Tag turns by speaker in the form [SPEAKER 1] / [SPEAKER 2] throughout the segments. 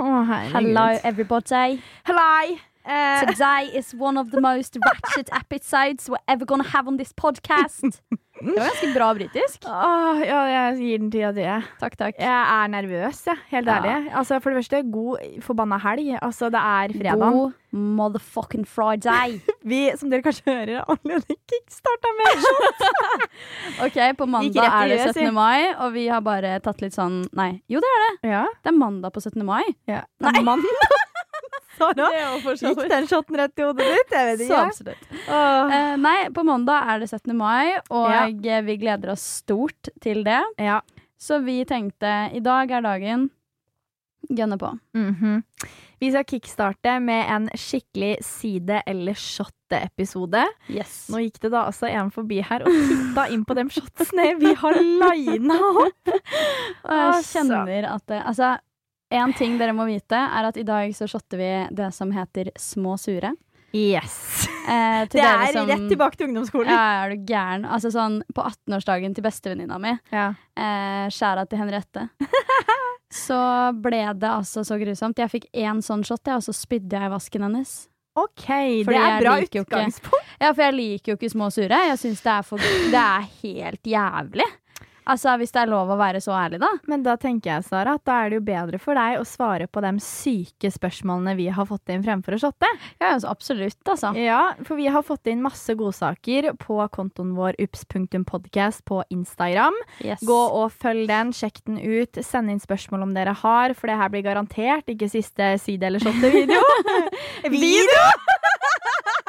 [SPEAKER 1] Å, herregud.
[SPEAKER 2] Hello, everybody.
[SPEAKER 1] Hello.
[SPEAKER 2] Uh,
[SPEAKER 1] Eh,
[SPEAKER 2] Today is one of the most ratchet episodes we're ever gonna have on this podcast. Det var ganske bra britisk.
[SPEAKER 1] åh, ja, jeg gir den tida til det.
[SPEAKER 2] Takk, takk.
[SPEAKER 1] Jeg er nervøs, jeg. Helt
[SPEAKER 2] Ja.
[SPEAKER 1] ærlig. Altså, for det første, god forbanna helg. Altså, det er fredag.
[SPEAKER 2] God motherfucking Friday.
[SPEAKER 1] Vi, som dere kanskje hører, har allerede kickstarta med
[SPEAKER 2] Ok,
[SPEAKER 1] Gikk
[SPEAKER 2] På mandag
[SPEAKER 1] rett i
[SPEAKER 2] er det
[SPEAKER 1] huet, si.
[SPEAKER 2] 17. mai, og vi har bare tatt litt sånn Nei, jo det er det.
[SPEAKER 1] Ja,
[SPEAKER 2] Det er mandag på 17. mai.
[SPEAKER 1] ja. Nei. Mann. Sara, gikk den shoten rett i hodet ditt? Jeg vet
[SPEAKER 2] Så
[SPEAKER 1] ikke.
[SPEAKER 2] absolutt.
[SPEAKER 1] Åh.
[SPEAKER 2] Eh, nei, på mandag er det 17. mai, og eh, vi gleder oss stort til det.
[SPEAKER 1] Ja.
[SPEAKER 2] Så vi tenkte i dag er dagen. Gønne på.
[SPEAKER 1] Mhm. Vi skal kickstarte med en skikkelig side- eller shot-episode.
[SPEAKER 2] Yes.
[SPEAKER 1] Nå gikk det da altså en forbi her og titta inn på de shotsene vi har lina opp.
[SPEAKER 2] Og jeg
[SPEAKER 1] Altså.
[SPEAKER 2] kjenner at det, Altså, en ting dere må vite, er at i dag så shotter vi det som heter Små sure.
[SPEAKER 1] Yes.
[SPEAKER 2] Eh, til
[SPEAKER 1] Det
[SPEAKER 2] dere
[SPEAKER 1] er
[SPEAKER 2] som-
[SPEAKER 1] rett tilbake til ungdomsskolen.
[SPEAKER 2] Ja, er du gæren? Altså sånn på 18-årsdagen til bestevenninna mi,
[SPEAKER 1] Ja.
[SPEAKER 2] eh, skjæra til Henriette, så ble det altså så grusomt. Jeg fikk én sånn shot, jeg, og så spydde jeg i vasken hennes.
[SPEAKER 1] OK,
[SPEAKER 2] Fordi
[SPEAKER 1] det er
[SPEAKER 2] jeg
[SPEAKER 1] bra
[SPEAKER 2] liker jo ikke-
[SPEAKER 1] utgangspunkt.
[SPEAKER 2] Ja, for jeg liker jo ikke små sure. Jeg syns det er for Det er helt jævlig. Altså, hvis det er lov å være så ærlig, da.
[SPEAKER 1] Men da tenker jeg, Sara, at da er det jo bedre for deg å svare på de syke spørsmålene vi har fått inn fremfor å shotte.
[SPEAKER 2] Ja, altså, absolutt, altså.
[SPEAKER 1] Ja, for vi har fått inn masse godsaker på kontoen vår ups.podcast på Instagram.
[SPEAKER 2] Yes.
[SPEAKER 1] Gå og følg den, sjekk den ut, send inn spørsmål om dere har, for det her blir garantert ikke siste side eller shotte video. video!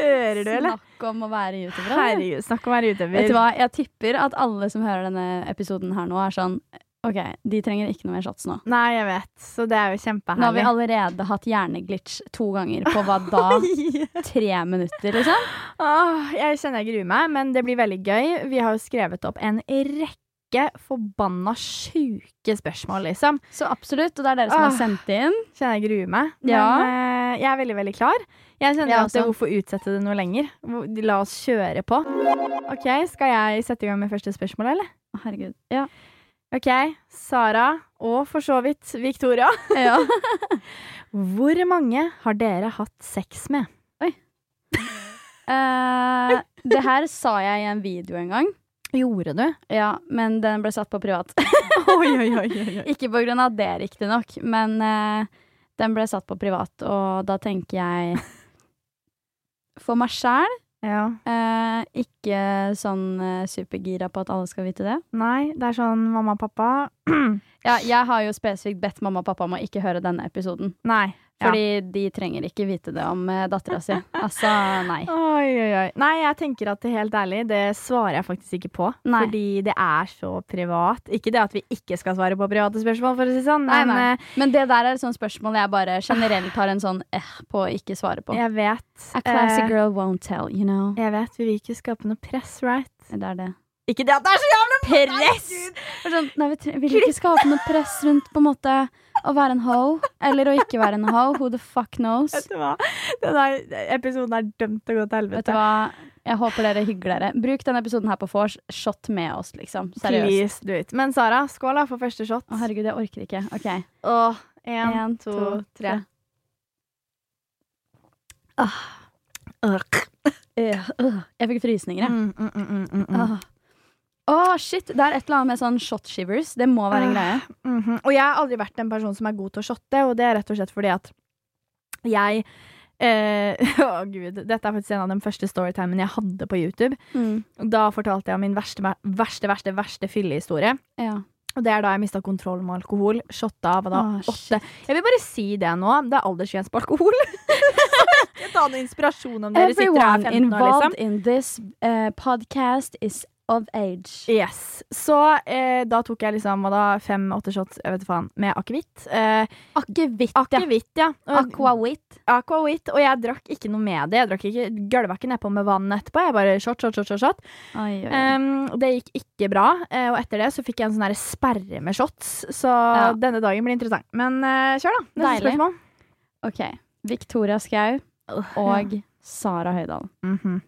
[SPEAKER 1] Hører du, eller?
[SPEAKER 2] Snakk om å være youtuber. eller?
[SPEAKER 1] Herregud, snakk om å være utøver.
[SPEAKER 2] Vet du hva, jeg tipper at alle som hører denne episoden her nå, er sånn OK, de trenger ikke noe mer shots nå.
[SPEAKER 1] Nei, jeg vet, så det er jo
[SPEAKER 2] Nå har vi
[SPEAKER 1] kjempeherlig.
[SPEAKER 2] allerede hatt hjerneglitch to ganger på hva da? Tre minutter, liksom?
[SPEAKER 1] Åh, jeg kjenner jeg gruer meg, men det blir veldig gøy. Vi har jo skrevet opp en rekke forbanna sjuke spørsmål, liksom.
[SPEAKER 2] Så absolutt. Og det er dere som
[SPEAKER 1] Ah.
[SPEAKER 2] har sendt inn.
[SPEAKER 1] Kjenner jeg gruer meg. Men
[SPEAKER 2] Ja.
[SPEAKER 1] eh, jeg er veldig, veldig klar. Jeg kjenner
[SPEAKER 2] Jeg
[SPEAKER 1] at det,
[SPEAKER 2] også.
[SPEAKER 1] hvorfor utsette det noe lenger? Hvor- La oss kjøre på. Ok, Skal jeg sette i gang med første spørsmål, eller?
[SPEAKER 2] Å, Herregud. Ja.
[SPEAKER 1] Ok, Sara og for så vidt Victoria.
[SPEAKER 2] ja.
[SPEAKER 1] Hvor mange har dere hatt sex med?
[SPEAKER 2] Eh, det her sa jeg i en video en gang,
[SPEAKER 1] Gjorde du?
[SPEAKER 2] Ja, men den ble satt på privat.
[SPEAKER 1] Oi, oi, oi, oi, oi.
[SPEAKER 2] Ikke på grunn av det, riktignok, men eh, den ble satt på privat, og da tenker jeg For meg sjæl
[SPEAKER 1] Ja.
[SPEAKER 2] Eh, ikke sånn eh, supergira på at alle skal vite det.
[SPEAKER 1] Nei, det er sånn mamma og pappa
[SPEAKER 2] Ja, jeg har jo spesifikt bedt mamma og pappa om å ikke høre denne episoden.
[SPEAKER 1] Nei. Ja.
[SPEAKER 2] Fordi de trenger ikke vite det om eh, dattera si. Altså, nei.
[SPEAKER 1] Oi, oi, oi. Nei, jeg tenker at det helt ærlig, det svarer jeg faktisk ikke på.
[SPEAKER 2] Nei.
[SPEAKER 1] Fordi det er så privat. Ikke det at vi ikke skal svare på private spørsmål, for å si det sånn,
[SPEAKER 2] Nei,
[SPEAKER 1] men
[SPEAKER 2] nei.
[SPEAKER 1] eh,
[SPEAKER 2] Men det der er et sånt spørsmål jeg bare generelt har en sånn eh på å ikke svare på.
[SPEAKER 1] jeg vet
[SPEAKER 2] A classy
[SPEAKER 1] eh,
[SPEAKER 2] girl won't tell, you know.
[SPEAKER 1] Jeg vet, vi vil ikke skape noe press, right?
[SPEAKER 2] Det er det.
[SPEAKER 1] Ikke det at det er så jævlig
[SPEAKER 2] Press!
[SPEAKER 1] Herregud.
[SPEAKER 2] Det er Sånn, nei, vi tre- vil ikke skape noe press rundt på en måte å være en ho, eller å ikke være en ho. Who the fuck knows?
[SPEAKER 1] Vet du hva? Den der episoden er dømt til å gå til
[SPEAKER 2] Vet du
[SPEAKER 1] helvete.
[SPEAKER 2] hva? Jeg håper dere hygler dere. Bruk denne episoden her på vors. Shot med oss, liksom. Seriøst.
[SPEAKER 1] Please do it. Men Sara, skål da for første shot.
[SPEAKER 2] Å, herregud, jeg orker ikke. OK.
[SPEAKER 1] Og en,
[SPEAKER 2] En,
[SPEAKER 1] to,
[SPEAKER 2] to,
[SPEAKER 1] tre.
[SPEAKER 2] tre. Eh, øh. Jeg fikk frysninger, jeg.
[SPEAKER 1] Mm, mm, mm, mm, mm.
[SPEAKER 2] Åh. Åh, shit! Det er et eller annet med sånn shot shivers. Det må være en
[SPEAKER 1] Åh.
[SPEAKER 2] greie.
[SPEAKER 1] Mhm. Og jeg har aldri vært en person som er god til å shotte, og det er rett og slett fordi at jeg eh, Å, gud. Dette er faktisk en av de første storytimene jeg hadde på YouTube. Da fortalte jeg om min verste, verste, verste, verste fyllehistorie.
[SPEAKER 2] Ja.
[SPEAKER 1] Og det er da jeg mista kontroll med alkohol. Shotta var da
[SPEAKER 2] Åh,
[SPEAKER 1] åtte. Jeg vil bare si det nå. Det er aldersgrense på alkohol. Ikke ta noe inspirasjon om dere sitter her 15
[SPEAKER 2] Everyone
[SPEAKER 1] år, liksom.
[SPEAKER 2] involved in this eh, podcast is of age.
[SPEAKER 1] Yes. Så eh, da tok jeg liksom hva da, fem-åtte shots jeg vet faen, med akevitt. Eh,
[SPEAKER 2] Akevitt, ja.
[SPEAKER 1] akevitt, ja. Og-
[SPEAKER 2] Aquavit.
[SPEAKER 1] Aquavit, og jeg drakk ikke noe med det. Jeg drakk ikke, gølva ikke nedpå med vann etterpå. Jeg bare shot, shot, shot, shot, shot.
[SPEAKER 2] Oi, oi, oi.
[SPEAKER 1] Um, og det gikk ikke bra, eh, og etter det så fikk jeg en sånn her sperre med shots. Så
[SPEAKER 2] Ja.
[SPEAKER 1] denne dagen blir interessant. Men eh, kjør, da. Neste
[SPEAKER 2] Deilig.
[SPEAKER 1] spørsmål.
[SPEAKER 2] OK. Victoria Skau og Sara Høydahl.
[SPEAKER 1] Mhm.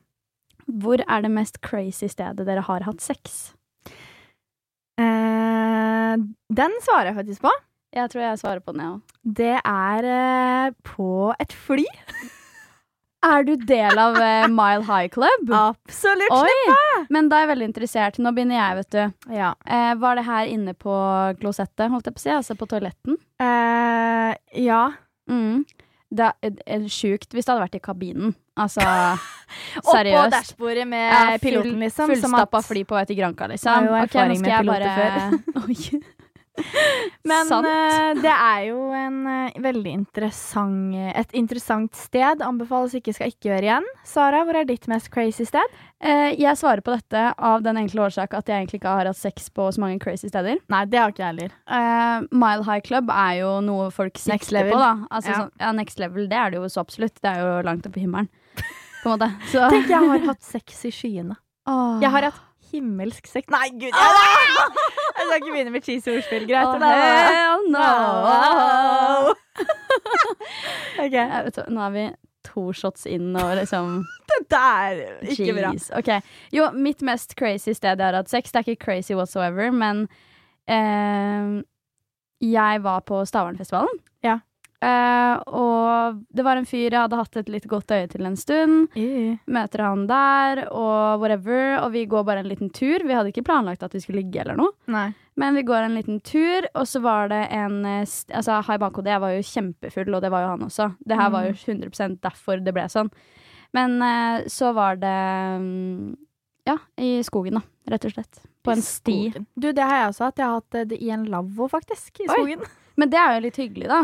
[SPEAKER 2] Hvor er det mest crazy stedet dere har hatt sex?
[SPEAKER 1] Eh, Den svarer jeg faktisk på.
[SPEAKER 2] Jeg tror jeg svarer på den, jeg òg.
[SPEAKER 1] Det er eh, på et fly.
[SPEAKER 2] Er du del av eh, Mile High Club?
[SPEAKER 1] Absolutt.
[SPEAKER 2] Oi! Men da er jeg veldig interessert. Nå begynner jeg, vet du.
[SPEAKER 1] Ja.
[SPEAKER 2] Eh, var det her inne på klosettet, holdt jeg på å si? Altså på toaletten?
[SPEAKER 1] Eh, ja.
[SPEAKER 2] Mm. Det er, er sjukt hvis det hadde vært i kabinen. Altså,
[SPEAKER 1] Oppå
[SPEAKER 2] seriøst. Eh,
[SPEAKER 1] dashbordet med
[SPEAKER 2] Ja, full-
[SPEAKER 1] piloten, liksom. som
[SPEAKER 2] Fullstappa
[SPEAKER 1] at-
[SPEAKER 2] fly på vei til Granka,
[SPEAKER 1] Har
[SPEAKER 2] liksom.
[SPEAKER 1] jo
[SPEAKER 2] Ok, nå
[SPEAKER 1] erfaring
[SPEAKER 2] skal
[SPEAKER 1] med
[SPEAKER 2] jeg
[SPEAKER 1] piloter
[SPEAKER 2] bare... Oi.
[SPEAKER 1] Men
[SPEAKER 2] Sant.
[SPEAKER 1] eh, det er jo en eh, veldig interessant eh, et interessant sted. Anbefales ikke skal ikke gjøre igjen. Sara, hvor er ditt mest crazy sted?
[SPEAKER 2] Eh, jeg svarer på dette av den enkle årsak at jeg egentlig ikke har hatt sex på så mange crazy steder.
[SPEAKER 1] Nei, det har ikke jeg heller.
[SPEAKER 2] Eh, Mile High Club er jo noe folk
[SPEAKER 1] Next
[SPEAKER 2] sikter
[SPEAKER 1] level.
[SPEAKER 2] på, da. Altså,
[SPEAKER 1] Ja.
[SPEAKER 2] Sånn, ja, next level, det er det jo så absolutt. Det er jo langt oppe i himmelen, på en måte. Så,
[SPEAKER 1] Tenk, jeg har hatt sex i skyene.
[SPEAKER 2] Åh.
[SPEAKER 1] Jeg har hatt himmelsk sex Nei, gud! Jeg, jeg skal ikke begynne med cheesy ordspill. Greit.
[SPEAKER 2] Ah! Åh,
[SPEAKER 1] det var-
[SPEAKER 2] hell no!
[SPEAKER 1] Wow. OK.
[SPEAKER 2] Jeg vet, hva, nå er vi to shots inn og liksom
[SPEAKER 1] Dette er ikke bra.
[SPEAKER 2] Jeez, ok. Jo, mitt mest crazy sted jeg har hatt sex, det er ikke crazy whatsoever, men eh, jeg var på Stavernfestivalen.
[SPEAKER 1] Ja.
[SPEAKER 2] Eh, og det var en fyr jeg hadde hatt et litt godt øye til en stund.
[SPEAKER 1] Uh,
[SPEAKER 2] Møter han der og whatever, og vi går bare en liten tur. Vi hadde ikke planlagt at vi skulle ligge eller noe,
[SPEAKER 1] Nei.
[SPEAKER 2] men vi går en liten tur, og så var det en eh, st- Altså, Hai Bakode, jeg var jo kjempefull, og det var jo han også. Det her var jo 100 derfor det ble sånn. Men eh, så var det mm, Ja, i skogen, da, rett og slett. På en sti.
[SPEAKER 1] Skogen. Du, det har jeg også hatt. Jeg har hatt eh, det i en lavvo, faktisk. I
[SPEAKER 2] Oi.
[SPEAKER 1] skogen.
[SPEAKER 2] Men det er jo litt hyggelig, da.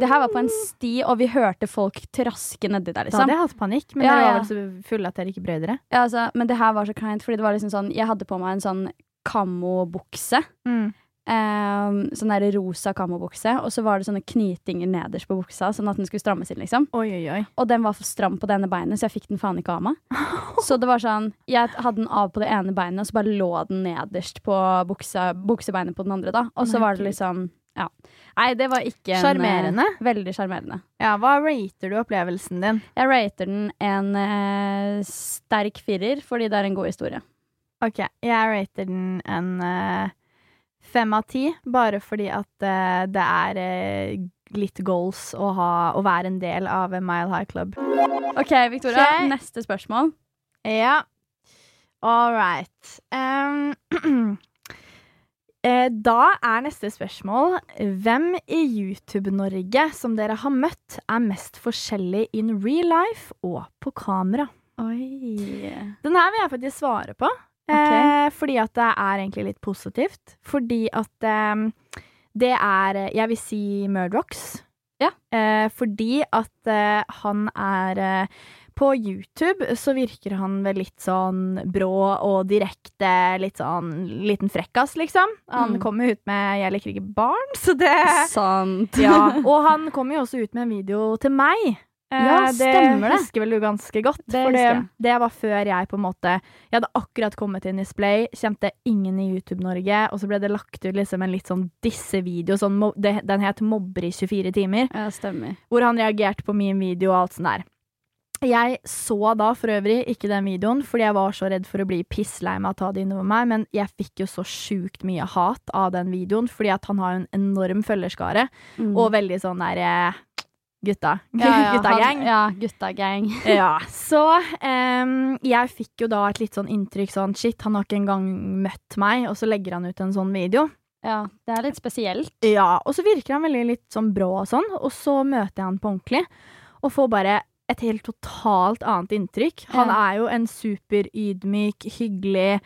[SPEAKER 2] Det her var på en sti, og vi hørte folk traske nedi der,
[SPEAKER 1] Da hadde
[SPEAKER 2] liksom.
[SPEAKER 1] jeg hatt panikk, men
[SPEAKER 2] Ja,
[SPEAKER 1] dere
[SPEAKER 2] ja.
[SPEAKER 1] var vel så fulle at dere ikke brød dere.
[SPEAKER 2] Ja, altså, men det her var så kleint, fordi det var liksom sånn Jeg hadde på meg en sånn kamobukse.
[SPEAKER 1] Mm.
[SPEAKER 2] Eh, sånn der rosa kamobukse, og så var det sånne knytinger nederst på buksa, sånn at den skulle strammes inn, liksom.
[SPEAKER 1] Oi, oi, oi.
[SPEAKER 2] Og den var for stram på det ene beinet, så jeg fikk den faen ikke av meg. Så det var sånn, jeg hadde den av på det ene beinet, og så bare lå den nederst på buksa, buksebeinet på den andre, da. Og så
[SPEAKER 1] Nei,
[SPEAKER 2] var det
[SPEAKER 1] Gud.
[SPEAKER 2] liksom Ja. Nei, det var ikke en
[SPEAKER 1] Sjarmerende.
[SPEAKER 2] eh, Veldig sjarmerende.
[SPEAKER 1] Ja, hva rater du opplevelsen din?
[SPEAKER 2] Jeg rater den en eh, sterk firer, fordi det er en god historie.
[SPEAKER 1] Ok, jeg rater den en eh, fem av ti, bare fordi at eh, det er eh, litt goals å, ha, å være en del av en Mile High Club.
[SPEAKER 2] OK, Victoria.
[SPEAKER 1] Ok.
[SPEAKER 2] Neste spørsmål.
[SPEAKER 1] Ja. All right. Um, eh, da er neste spørsmål Hvem i YouTube-Norge som dere har møtt, er mest forskjellig in real life og på kamera?
[SPEAKER 2] Oi.
[SPEAKER 1] Den her vil jeg faktisk svare på. Eh, fordi at det er egentlig litt positivt. Fordi at eh, det er Jeg vil si Murdrocks.
[SPEAKER 2] Ja.
[SPEAKER 1] Eh, fordi at eh, han er eh, På YouTube så virker han vel litt sånn brå og direkte. Litt sånn liten frekkas, liksom. Han
[SPEAKER 2] Mm.
[SPEAKER 1] kommer ut med 'Jeg liker ikke barn', så det
[SPEAKER 2] Sant.
[SPEAKER 1] ja, Og han kommer jo også ut med en video til meg. Eh,
[SPEAKER 2] Ja, stemmer det.
[SPEAKER 1] Det husker vel du ganske godt.
[SPEAKER 2] Det
[SPEAKER 1] for det,
[SPEAKER 2] husker jeg.
[SPEAKER 1] det var før jeg på en måte Jeg hadde akkurat kommet inn i Splay, kjente ingen i YouTube-Norge, og så ble det lagt ut liksom en litt sånn dissevideo. Sånn, mob- det- den het 'Mobber i 24 timer'
[SPEAKER 2] Ja, stemmer.
[SPEAKER 1] hvor han reagerte på min video og alt sånt der. Jeg så da for øvrig ikke den videoen, fordi jeg var så redd for å bli pisslei med å ta det innover meg, men jeg fikk jo så sjukt mye hat av den videoen, fordi at han har jo en enorm følgerskare,
[SPEAKER 2] Mm.
[SPEAKER 1] og veldig sånn der eh, gutta. gutta
[SPEAKER 2] han-
[SPEAKER 1] gjeng.
[SPEAKER 2] Ja, gutta gang.
[SPEAKER 1] Ja, så em, jeg fikk jo da et litt sånn inntrykk sånn, shit, han har ikke engang møtt meg, og så legger han ut en sånn video.
[SPEAKER 2] Ja, det er litt spesielt.
[SPEAKER 1] Ja, og så virker han veldig litt sånn brå og sånn, og så møter jeg han på ordentlig, og får bare et helt totalt annet inntrykk. Han
[SPEAKER 2] Ja.
[SPEAKER 1] er jo en superydmyk, hyggelig,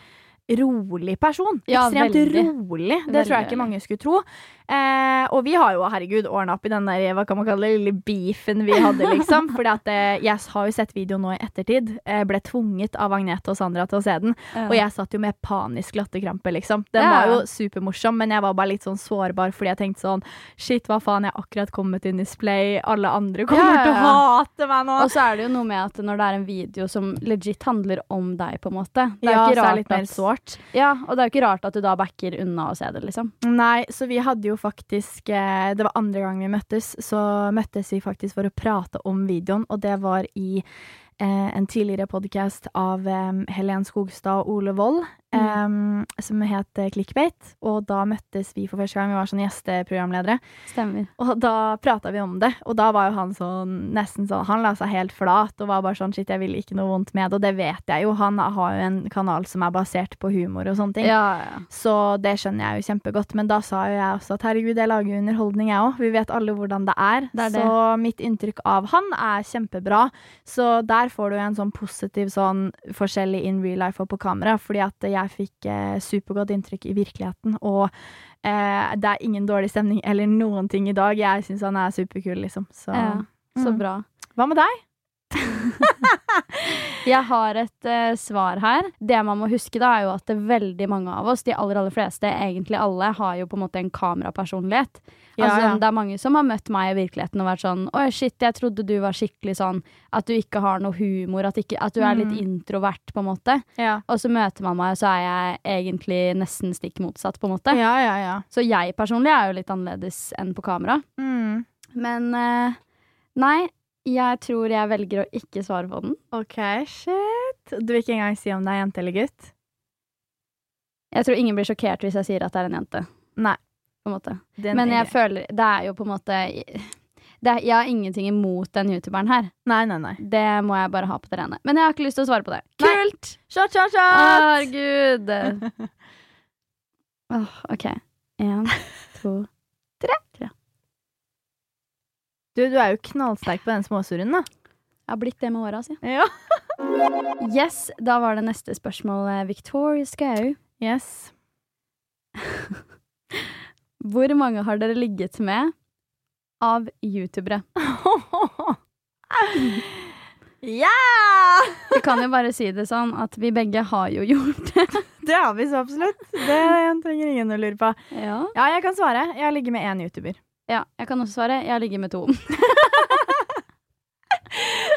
[SPEAKER 1] rolig person.
[SPEAKER 2] Ja,
[SPEAKER 1] Ekstremt
[SPEAKER 2] veldig.
[SPEAKER 1] rolig. Det tror
[SPEAKER 2] Veldig,
[SPEAKER 1] jeg ikke
[SPEAKER 2] veldig.
[SPEAKER 1] mange skulle tro. Eh, og vi har jo, herregud, ordna opp i den der, hva kan man kalle det, lille beefen vi hadde, liksom. Fordi at eh, jeg har jo sett videoen nå i ettertid. Eh, ble tvunget av Agnete og Sandra til å se den. Og jeg satt jo med panisk latterkrampe, liksom. Den
[SPEAKER 2] Ja.
[SPEAKER 1] var jo supermorsom, men jeg var bare litt sånn sårbar fordi jeg tenkte sånn Shit, hva faen, jeg har akkurat kommet inn i Splay, alle andre kommer
[SPEAKER 2] Ja, Altså, ja,
[SPEAKER 1] til å hate meg nå.
[SPEAKER 2] Og så er det jo noe med at når det er en video som legit handler om deg, på en måte Det
[SPEAKER 1] ja,
[SPEAKER 2] jo
[SPEAKER 1] så er det litt mer
[SPEAKER 2] at-
[SPEAKER 1] sårt.
[SPEAKER 2] Ja, og det er jo ikke rart at du da backer unna å se det, liksom.
[SPEAKER 1] Nei, så vi hadde jo faktisk eh, Det var andre gang vi møttes, så møttes vi faktisk for å prate om videoen, og det var i eh, en tidligere podkast av eh, Helen Skogstad og Ole Wold.
[SPEAKER 2] Mm.
[SPEAKER 1] em, som het eh, Clickbait. Og da møttes vi for første gang. Vi var sånne gjesteprogramledere.
[SPEAKER 2] Stemmer.
[SPEAKER 1] Og da prata vi om det, og da var jo han sånn nesten sånn Han la seg helt flat og var bare sånn shit, jeg vil ikke noe vondt med det, og det vet jeg jo. Han har jo en kanal som er basert på humor og sånne ting.
[SPEAKER 2] Ja, ja.
[SPEAKER 1] Så det skjønner jeg jo kjempegodt, men da sa jo jeg også at herregud, jeg lager jo underholdning jeg òg. Vi vet alle hvordan det er.
[SPEAKER 2] Det er det.
[SPEAKER 1] Så mitt inntrykk av han er kjempebra. Så der får du jo en sånn positiv sånn forskjell i in real life og på kamera, fordi at jeg fikk eh, supergodt inntrykk i virkeligheten. Og eh, det er ingen dårlig stemning eller noen ting i dag. Jeg syns han er superkul, liksom. Så
[SPEAKER 2] Ja. Så
[SPEAKER 1] Mm.
[SPEAKER 2] bra.
[SPEAKER 1] hva med deg?
[SPEAKER 2] Jeg har et eh, svar her. Det man må huske, da, er jo at det er veldig mange av oss, de aller aller fleste, egentlig alle, har jo på en måte en kamerapersonlighet. altså,
[SPEAKER 1] ja.
[SPEAKER 2] Det er mange som har møtt meg i virkeligheten og vært sånn Å, shit, jeg trodde du var skikkelig sånn At du ikke har noe humor, at, ikke, at du er litt
[SPEAKER 1] Mm.
[SPEAKER 2] introvert, på en måte.
[SPEAKER 1] Ja.
[SPEAKER 2] Og så møter man meg, og så er jeg egentlig nesten stikk motsatt, på en måte.
[SPEAKER 1] ja, ja, ja.
[SPEAKER 2] Så jeg personlig er jo litt annerledes enn på kamera.
[SPEAKER 1] Mm.
[SPEAKER 2] Men eh, nei, jeg tror jeg velger å ikke svare på den.
[SPEAKER 1] OK, shit. Du vil ikke engang si om det er jente eller gutt?
[SPEAKER 2] Jeg tror ingen blir sjokkert hvis jeg sier at det er en jente.
[SPEAKER 1] Nei.
[SPEAKER 2] På en måte.
[SPEAKER 1] Den
[SPEAKER 2] Men
[SPEAKER 1] er
[SPEAKER 2] jeg
[SPEAKER 1] grei.
[SPEAKER 2] føler Det er jo på en måte det er, Jeg har ingenting imot den youtuberen her.
[SPEAKER 1] Nei, nei, nei.
[SPEAKER 2] Det må jeg bare ha på det rene. Men jeg har ikke lyst til å svare på det.
[SPEAKER 1] Nei.
[SPEAKER 2] Kult!
[SPEAKER 1] Shot, shot, shot!
[SPEAKER 2] Herregud! Åh, OK. Én, to
[SPEAKER 1] Du, du er jo knallsterk på den småsurren, da.
[SPEAKER 2] Jeg har blitt det med åra, si.
[SPEAKER 1] Ja.
[SPEAKER 2] Yes, da var det neste spørsmål. eh, Victoria Skau.
[SPEAKER 1] Yes.
[SPEAKER 2] Hvor mange har dere ligget med av youtubere?
[SPEAKER 1] Ja!
[SPEAKER 2] Vi kan jo bare si det sånn at vi begge har jo gjort det.
[SPEAKER 1] Det har vi så absolutt. Det trenger ingen å lure på.
[SPEAKER 2] Ja.
[SPEAKER 1] Ja, jeg kan svare. Jeg ligger med én YouTuber.
[SPEAKER 2] Ja, jeg kan også svare. Jeg ligger med to.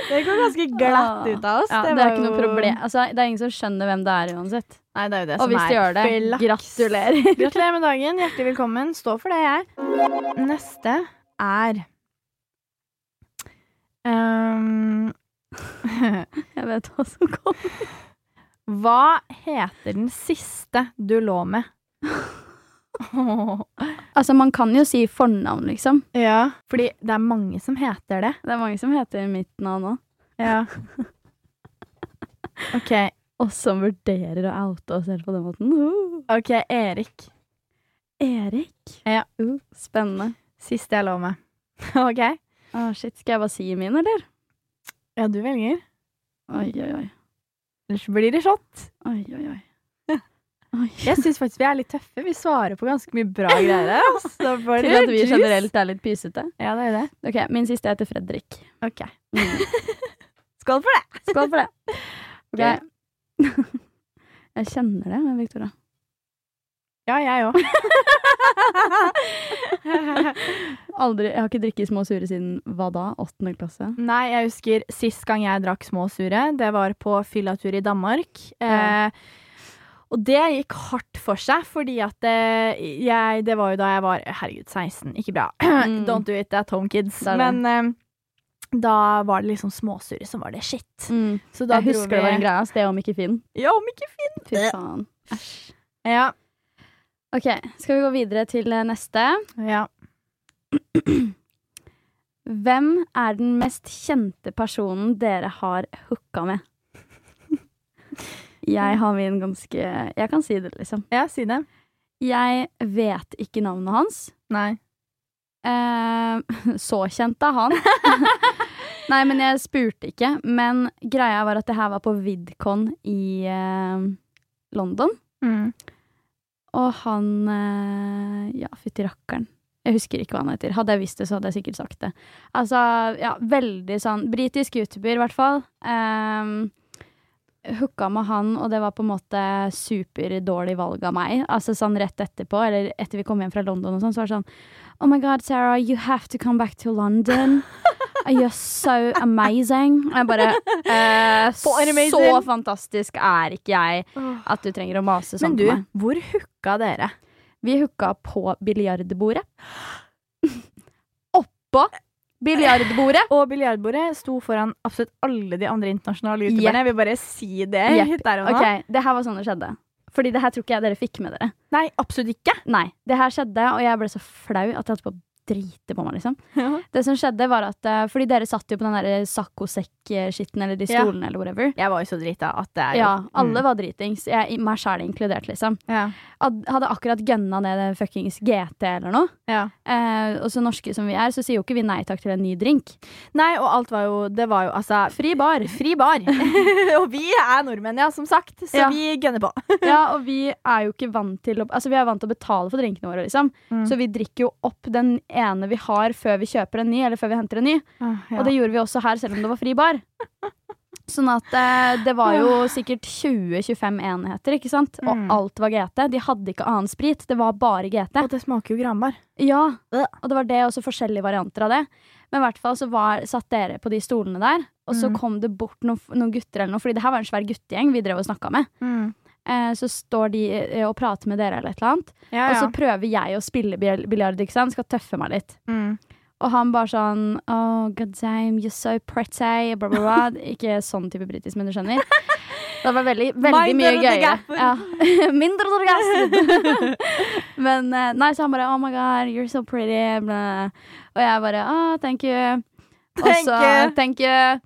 [SPEAKER 1] Det går ganske glatt ut av oss.
[SPEAKER 2] Ja, det, er
[SPEAKER 1] var
[SPEAKER 2] ikke noe
[SPEAKER 1] jo-
[SPEAKER 2] problem. Altså, det er ingen som skjønner hvem det er uansett.
[SPEAKER 1] Nei, det er jo det
[SPEAKER 2] Og
[SPEAKER 1] som
[SPEAKER 2] hvis de gjør det,
[SPEAKER 1] er flaks.
[SPEAKER 2] gratulerer.
[SPEAKER 1] Gratulerer med dagen. Hjertelig velkommen. Stå for det, jeg. Neste er Ehm,
[SPEAKER 2] Jeg vet hva som kommer.
[SPEAKER 1] Hva heter den siste du lå med?
[SPEAKER 2] Altså, man kan jo si fornavn, liksom.
[SPEAKER 1] Ja, fordi det er mange som heter det.
[SPEAKER 2] Det er mange som heter mitt navn òg.
[SPEAKER 1] Ja. OK,
[SPEAKER 2] Og som vurderer å oute oss selv på den måten. Uh,
[SPEAKER 1] ok, Erik.
[SPEAKER 2] Erik.
[SPEAKER 1] Ja.
[SPEAKER 2] Uh, spennende.
[SPEAKER 1] Siste jeg lå med. OK?
[SPEAKER 2] Å, shit, skal jeg bare si min, eller?
[SPEAKER 1] Ja, du velger.
[SPEAKER 2] Oi, oi, oi.
[SPEAKER 1] Ellers blir det shot.
[SPEAKER 2] Oi, oi, oi. Oi.
[SPEAKER 1] Jeg syns faktisk vi er litt tøffe. Vi svarer på ganske mye bra greier. her, ass. Så får
[SPEAKER 2] Til
[SPEAKER 1] dere
[SPEAKER 2] at vi
[SPEAKER 1] juice.
[SPEAKER 2] generelt er litt pysete.
[SPEAKER 1] Ja, det er jo det.
[SPEAKER 2] Ok, Min siste heter Fredrik.
[SPEAKER 1] OK.
[SPEAKER 2] Mm.
[SPEAKER 1] Skål for det!
[SPEAKER 2] Skål for det.
[SPEAKER 1] Ok.
[SPEAKER 2] Jeg kjenner det, Victoria.
[SPEAKER 1] Ja, jeg òg.
[SPEAKER 2] Aldri, jeg har ikke drikket små sure siden hva da? Åttende klasse?
[SPEAKER 1] Nei, jeg husker sist gang jeg drakk små sure. Det var på fyllatur i Danmark.
[SPEAKER 2] Ja.
[SPEAKER 1] Eh, og det gikk hardt for seg, fordi at eh, jeg Det var jo da jeg var Herregud, 16. Ikke bra.
[SPEAKER 2] Mm.
[SPEAKER 1] Don't do it at home, kids.
[SPEAKER 2] Det er det.
[SPEAKER 1] Men eh, da var det liksom småsure som var det shit. Så da Eh.
[SPEAKER 2] Mm. Jeg husker det var en greie. ass. Det om ikke Finn.
[SPEAKER 1] Ja, om ikke fint.
[SPEAKER 2] Fy faen. Æsj.
[SPEAKER 1] Ja.
[SPEAKER 2] Ok, skal vi gå videre til eh, neste?
[SPEAKER 1] ja.
[SPEAKER 2] Hvem er den mest kjente personen dere har hooka med? Jeg har min ganske Jeg kan si det, liksom.
[SPEAKER 1] Ja, si det.
[SPEAKER 2] Jeg vet ikke navnet hans.
[SPEAKER 1] Nei.
[SPEAKER 2] Eh, så kjent av han. Nei, men jeg spurte ikke. Men greia var at det her var på VidCon i eh, London.
[SPEAKER 1] Mm.
[SPEAKER 2] Og han eh, Ja, fytti rakkeren. Jeg husker ikke hva han heter. Hadde jeg visst det, så hadde jeg sikkert sagt det. Altså, ja, veldig sånn Britisk youtuber, i hvert fall. Um, hooka med han, og det var på en måte superdårlig valg av meg. Altså sånn rett etterpå, eller etter vi kom hjem fra London og sånn, så var det sånn Oh my god, Sarah, you have to come back to London. You're so amazing. Og jeg bare eh,
[SPEAKER 1] For amazing.
[SPEAKER 2] Så fantastisk er ikke jeg at du trenger å mase sånn
[SPEAKER 1] Men du,
[SPEAKER 2] på meg.
[SPEAKER 1] hvor hooka dere?
[SPEAKER 2] Vi hooka på biljardbordet. Oppå biljardbordet.
[SPEAKER 1] Og biljardbordet sto foran absolutt alle de andre internasjonale youtuberne. Jeg vil bare si det.
[SPEAKER 2] Jepp.
[SPEAKER 1] hit Der og nå.
[SPEAKER 2] Ok, Det her var sånn det skjedde. Fordi det her tror ikke jeg dere fikk med dere.
[SPEAKER 1] Nei, absolutt ikke.
[SPEAKER 2] Nei, det her skjedde, og jeg ble så flau at jeg holdt på å drite på meg, liksom.
[SPEAKER 1] Jeg
[SPEAKER 2] Det som skjedde, var at eh, Fordi dere satt jo på den der saccosekk-skitten, eller de
[SPEAKER 1] Ja.
[SPEAKER 2] stolene, eller whatever.
[SPEAKER 1] var jo så drita at det er jo
[SPEAKER 2] Ja, alle var dritings. Jeg, meg sjæl inkludert, liksom.
[SPEAKER 1] ja.
[SPEAKER 2] Ad- Hadde akkurat gønna ned en fuckings GT eller noe.
[SPEAKER 1] ja.
[SPEAKER 2] Eh, og så norske som vi er, så sier jo ikke vi nei takk til en ny drink.
[SPEAKER 1] Nei, og alt var jo Det var jo altså
[SPEAKER 2] Fri bar.
[SPEAKER 1] Fri bar. og vi er nordmenn, ja, som sagt, så
[SPEAKER 2] Ja.
[SPEAKER 1] vi gønner på.
[SPEAKER 2] Ja, og vi er jo ikke vant til å Altså, vi er vant til å betale for drinkene våre, liksom.
[SPEAKER 1] Mm.
[SPEAKER 2] Så vi drikker jo opp den ene vi har, før vi kjøper en ny, eller før vi henter en ny. Og det gjorde vi også her, selv om det var fri bar. Sånn at eh, det var jo sikkert 20-25 enheter, ikke sant? Og
[SPEAKER 1] Mm.
[SPEAKER 2] alt var GT. De hadde ikke annen sprit, det var bare GT.
[SPEAKER 1] Og det smaker jo granbar.
[SPEAKER 2] Ja, og det var det, og så forskjellige varianter av det. Men i hvert fall så var, satt dere på de stolene der, og så
[SPEAKER 1] Mm.
[SPEAKER 2] kom det bort noen, noen gutter eller noe, fordi det her var en svær guttegjeng vi drev og snakka med. Eh, så står de eh, og prater med dere eller et eller annet,
[SPEAKER 1] Ja,
[SPEAKER 2] og så prøver jeg å spille bil- biljard, ikke sant, skal tøffe meg litt.
[SPEAKER 1] Mm.
[SPEAKER 2] Og han bare sånn Oh, god damn, you're so pretty, bla, bla, bla. Ikke sånn type britisk, men du skjønner. Det var veldig,
[SPEAKER 1] Mindre
[SPEAKER 2] veldig mye
[SPEAKER 1] til
[SPEAKER 2] gøyere.
[SPEAKER 1] gaffen.
[SPEAKER 2] Ja. Mindre til gassen. men eh, nei, så han bare Oh my god, you're so pretty, bla. Og jeg bare Oh, thank you. Og
[SPEAKER 1] Thank
[SPEAKER 2] så
[SPEAKER 1] you.
[SPEAKER 2] Thank you.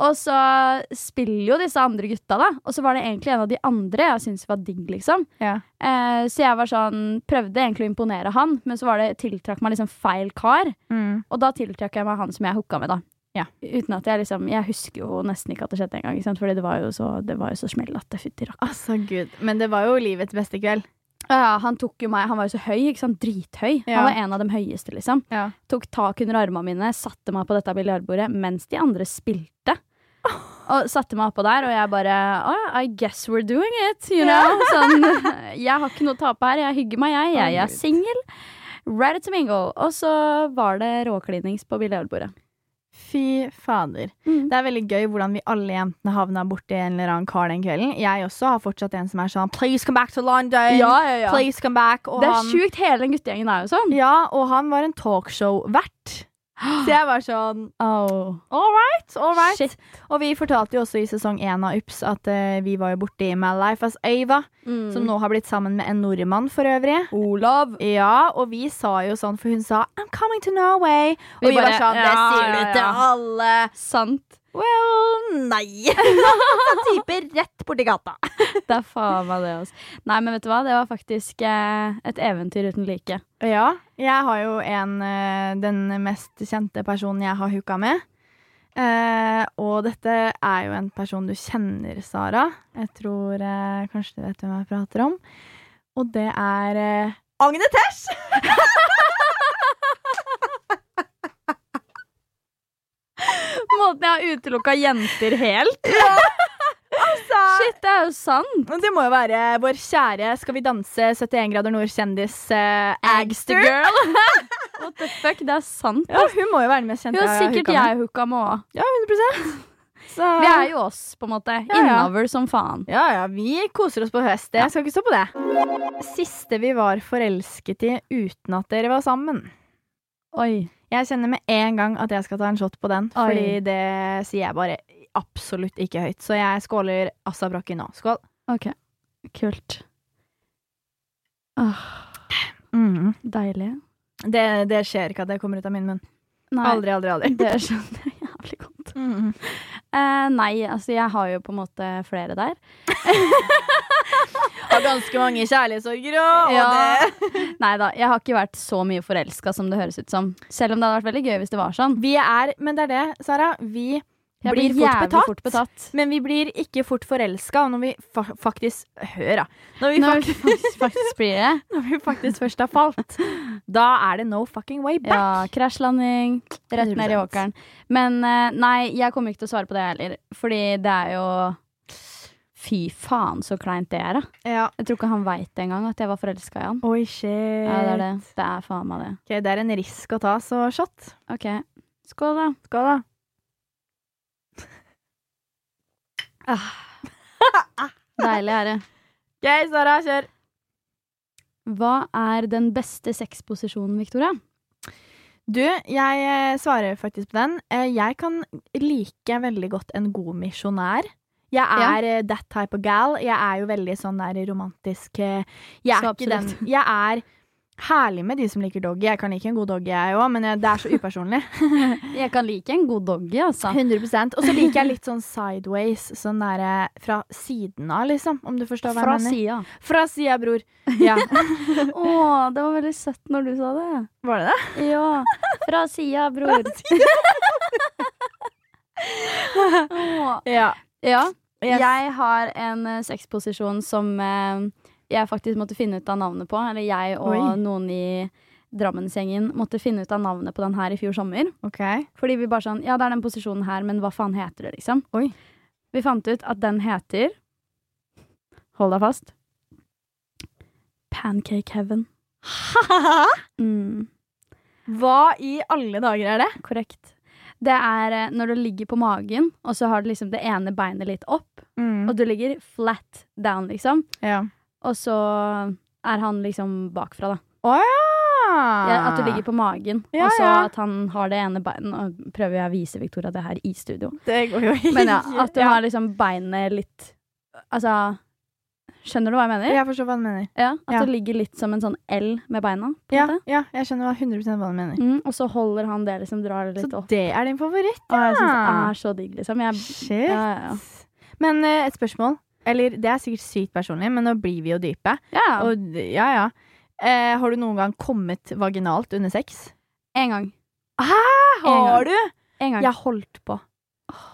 [SPEAKER 2] Altså, Og så spiller jo disse andre gutta, da. Og så var det egentlig en av de andre jeg syntes var digg, liksom.
[SPEAKER 1] Ja.
[SPEAKER 2] Eh, så jeg var sånn prøvde egentlig å imponere han, men så var det, tiltrakk meg liksom feil kar. Og da tiltrakk jeg meg han som jeg hooka med, da.
[SPEAKER 1] Ja.
[SPEAKER 2] Uten at jeg liksom Jeg husker jo nesten ikke at det skjedde engang, ikke sant? Fordi det var jo så, det var jo så smell at det fytti rakk.
[SPEAKER 1] Altså, gud. Men det var jo livets beste kveld.
[SPEAKER 2] Ja, han tok jo meg Han var jo så høy, ikke sant? Drithøy.
[SPEAKER 1] Ja.
[SPEAKER 2] Han var en av de høyeste, liksom.
[SPEAKER 1] Ja.
[SPEAKER 2] Tok tak under armene mine, satte meg på dette biljardbordet mens de andre spilte. Og satte meg oppå der, og jeg bare oh, I guess we're doing it, you know? Sånn, jeg har ikke noe å tape her, jeg hygger meg, jeg. Jeg, jeg er singel. Ready to mingle. Og så var det råklinings på biljardbordet.
[SPEAKER 1] Fy fader.
[SPEAKER 2] Mm.
[SPEAKER 1] Det er veldig gøy hvordan vi alle jentene havna borti en eller annen kar den kvelden. Jeg også har fortsatt en som er sånn Please come back to London!
[SPEAKER 2] ja,
[SPEAKER 1] Please come back! Og
[SPEAKER 2] Det er
[SPEAKER 1] han,
[SPEAKER 2] sjukt, hele den guttegjengen er jo sånn.
[SPEAKER 1] ja, og han var en talkshow-vert. Så jeg var sånn All right, all right.
[SPEAKER 2] Shit.
[SPEAKER 1] Og vi fortalte jo også i sesong én av Ups at eh, vi var jo borti My Life as Ava, som nå har blitt sammen med en nordmann for øvrig.
[SPEAKER 2] Mm. Olav.
[SPEAKER 1] Ja, og vi sa jo sånn, for hun sa 'I'm coming to Norway'. Og
[SPEAKER 2] Vi
[SPEAKER 1] vi, var
[SPEAKER 2] bare,
[SPEAKER 1] sånn 'Det
[SPEAKER 2] ja,
[SPEAKER 1] sier du
[SPEAKER 2] ja,
[SPEAKER 1] til
[SPEAKER 2] ja.
[SPEAKER 1] alle'.
[SPEAKER 2] Sant.
[SPEAKER 1] Well, nei. Sånn type rett borti gata.
[SPEAKER 2] Det er faen meg det, altså. Nei, men vet du hva? Det var faktisk eh, et eventyr uten like.
[SPEAKER 1] Ja, jeg har jo en eh, Den mest kjente personen jeg har hooka med. Eh, og dette er jo en person du kjenner, Sara. Jeg tror eh, kanskje du vet hvem jeg prater om. Og det er eh, Agne Tesh!
[SPEAKER 2] Måten jeg har utelukka jenter helt.
[SPEAKER 1] Shit.
[SPEAKER 2] Shit, det er jo sant.
[SPEAKER 1] Men Det må jo være vår kjære Skal vi danse 71 grader nord-kjendis eh, Agster.
[SPEAKER 2] girl. What the fuck, det er sant.
[SPEAKER 1] Ja, hun må jo være den mest
[SPEAKER 2] Jo,
[SPEAKER 1] kjente har
[SPEAKER 2] sikkert
[SPEAKER 1] hooka med.
[SPEAKER 2] jeg hooka med òg.
[SPEAKER 1] Ja, 100 Så...
[SPEAKER 2] Vi er jo oss, på en måte.
[SPEAKER 1] Ja, ja.
[SPEAKER 2] Innover som faen.
[SPEAKER 1] Ja, ja, vi koser oss på fest. Jeg skal ikke stå på det. Siste vi var forelsket i uten at dere var sammen.
[SPEAKER 2] Oi.
[SPEAKER 1] Jeg kjenner med en gang at jeg skal ta en shot på den,
[SPEAKER 2] Oi.
[SPEAKER 1] fordi det sier jeg bare absolutt ikke høyt. Så jeg skåler Assa Brokki nå. Skål.
[SPEAKER 2] Ok, kult. Åh,
[SPEAKER 1] Mm.
[SPEAKER 2] deilig.
[SPEAKER 1] Det, det skjer ikke at det kommer ut av min munn.
[SPEAKER 2] Nei.
[SPEAKER 1] Aldri, aldri, aldri.
[SPEAKER 2] Det skjønner jeg jævlig godt.
[SPEAKER 1] Mm.
[SPEAKER 2] Eh, nei, altså jeg har jo på en måte flere der.
[SPEAKER 1] Har ganske mange kjærlighetssorger òg.
[SPEAKER 2] Ja. Nei da, jeg har ikke vært så mye forelska som det høres ut som. Selv om det hadde vært veldig gøy hvis det var sånn.
[SPEAKER 1] Vi er Men det er det, Sara. Vi
[SPEAKER 2] Jeg
[SPEAKER 1] blir,
[SPEAKER 2] blir,
[SPEAKER 1] fort
[SPEAKER 2] jævlig
[SPEAKER 1] betatt.
[SPEAKER 2] fort betatt.
[SPEAKER 1] Men vi blir ikke fort forelska, og når vi fa faktisk Hør, da. Når vi,
[SPEAKER 2] Når
[SPEAKER 1] fak-
[SPEAKER 2] faktisk, faktisk blir det.
[SPEAKER 1] når vi faktisk først har falt, da er det no fucking way back.
[SPEAKER 2] Ja, krasjlanding. Rett ned
[SPEAKER 1] 100%.
[SPEAKER 2] i åkeren. Men eh, nei, jeg kommer ikke til å svare på det heller. Fordi det er jo Fy faen, så kleint det er, da.
[SPEAKER 1] Ja.
[SPEAKER 2] Jeg tror ikke han veit engang at jeg var forelska i han.
[SPEAKER 1] Oi, shit.
[SPEAKER 2] Ja, det er det. Det er faen meg det.
[SPEAKER 1] Ok, det er en risk å ta, så shot.
[SPEAKER 2] OK. Skål, da.
[SPEAKER 1] Skål, da.
[SPEAKER 2] Deilig er det.
[SPEAKER 1] OK, Sara, kjør.
[SPEAKER 2] Hva er den beste sexposisjonen, Victoria?
[SPEAKER 1] Du, jeg eh, svarer faktisk på den. Eh, Jeg kan like veldig godt en god misjonær. Jeg er eh, that type of gal. Jeg er jo veldig sånn der romantisk eh, Jeg er
[SPEAKER 2] Så
[SPEAKER 1] ikke den Jeg er herlig med de som liker doggy. Jeg kan like en god doggy, jeg òg, men jeg, det er så upersonlig.
[SPEAKER 2] Jeg kan like en god doggy, altså.
[SPEAKER 1] 100 Og så liker jeg litt sånn sideways. Sånn der eh, fra siden av, liksom. Om du forstår hva
[SPEAKER 2] Fra
[SPEAKER 1] jeg mener.
[SPEAKER 2] sida.
[SPEAKER 1] Fra sida, bror. Ja.
[SPEAKER 2] Å, det var veldig søtt når du sa det.
[SPEAKER 1] Var det det?
[SPEAKER 2] Ja. Fra sida, bror. Å,
[SPEAKER 1] Ja.
[SPEAKER 2] ja.
[SPEAKER 1] Yes.
[SPEAKER 2] Jeg har en eh, sexposisjon som eh, jeg faktisk måtte finne ut av navnet på. Eller jeg og
[SPEAKER 1] Oi.
[SPEAKER 2] noen i Drammensgjengen måtte finne ut av navnet på den her i fjor sommer.
[SPEAKER 1] OK.
[SPEAKER 2] Fordi vi bare sånn Ja, det er den posisjonen her, men hva faen heter det, liksom?
[SPEAKER 1] Oi.
[SPEAKER 2] Vi fant ut at den heter Hold deg fast. Pancake Heaven. Mm.
[SPEAKER 1] Hva i alle dager er det?
[SPEAKER 2] Korrekt. Det er eh, når du ligger på magen, og så har du liksom det ene beinet litt opp,
[SPEAKER 1] Mm.
[SPEAKER 2] og du ligger flat down, liksom.
[SPEAKER 1] Ja.
[SPEAKER 2] Og så er han liksom bakfra, da.
[SPEAKER 1] Å ja!
[SPEAKER 2] Ja, at du ligger på magen,
[SPEAKER 1] Ah. Ja,
[SPEAKER 2] og så
[SPEAKER 1] ja.
[SPEAKER 2] at han har det ene beinet Nå prøver jeg å vise Victoria det her i studio.
[SPEAKER 1] Det går jo ikke.
[SPEAKER 2] Men ja, at du har liksom beinet litt Altså Skjønner du hva jeg mener?
[SPEAKER 1] Jeg forstår hva du mener.
[SPEAKER 2] Ja, at
[SPEAKER 1] Ja.
[SPEAKER 2] det ligger litt som en sånn L med beina. på en
[SPEAKER 1] Ja,
[SPEAKER 2] måte.
[SPEAKER 1] ja, jeg skjønner hva- 100 hva du mener.
[SPEAKER 2] Mm, og så holder han det, liksom drar det
[SPEAKER 1] Så
[SPEAKER 2] litt opp.
[SPEAKER 1] det er din favoritt,
[SPEAKER 2] Og jeg syns det
[SPEAKER 1] ja.
[SPEAKER 2] er så digg, liksom. Jeg,
[SPEAKER 1] Shit.
[SPEAKER 2] ja, ja, ja.
[SPEAKER 1] Men eh, et spørsmål. Eller det er sikkert sykt personlig, men nå blir vi jo dype.
[SPEAKER 2] ja.
[SPEAKER 1] Og, d- ja, ja. Eh, har du noen gang kommet vaginalt under sex?
[SPEAKER 2] En gang.
[SPEAKER 1] Hæ,
[SPEAKER 2] har
[SPEAKER 1] du?
[SPEAKER 2] En gang.
[SPEAKER 1] Jeg holdt på.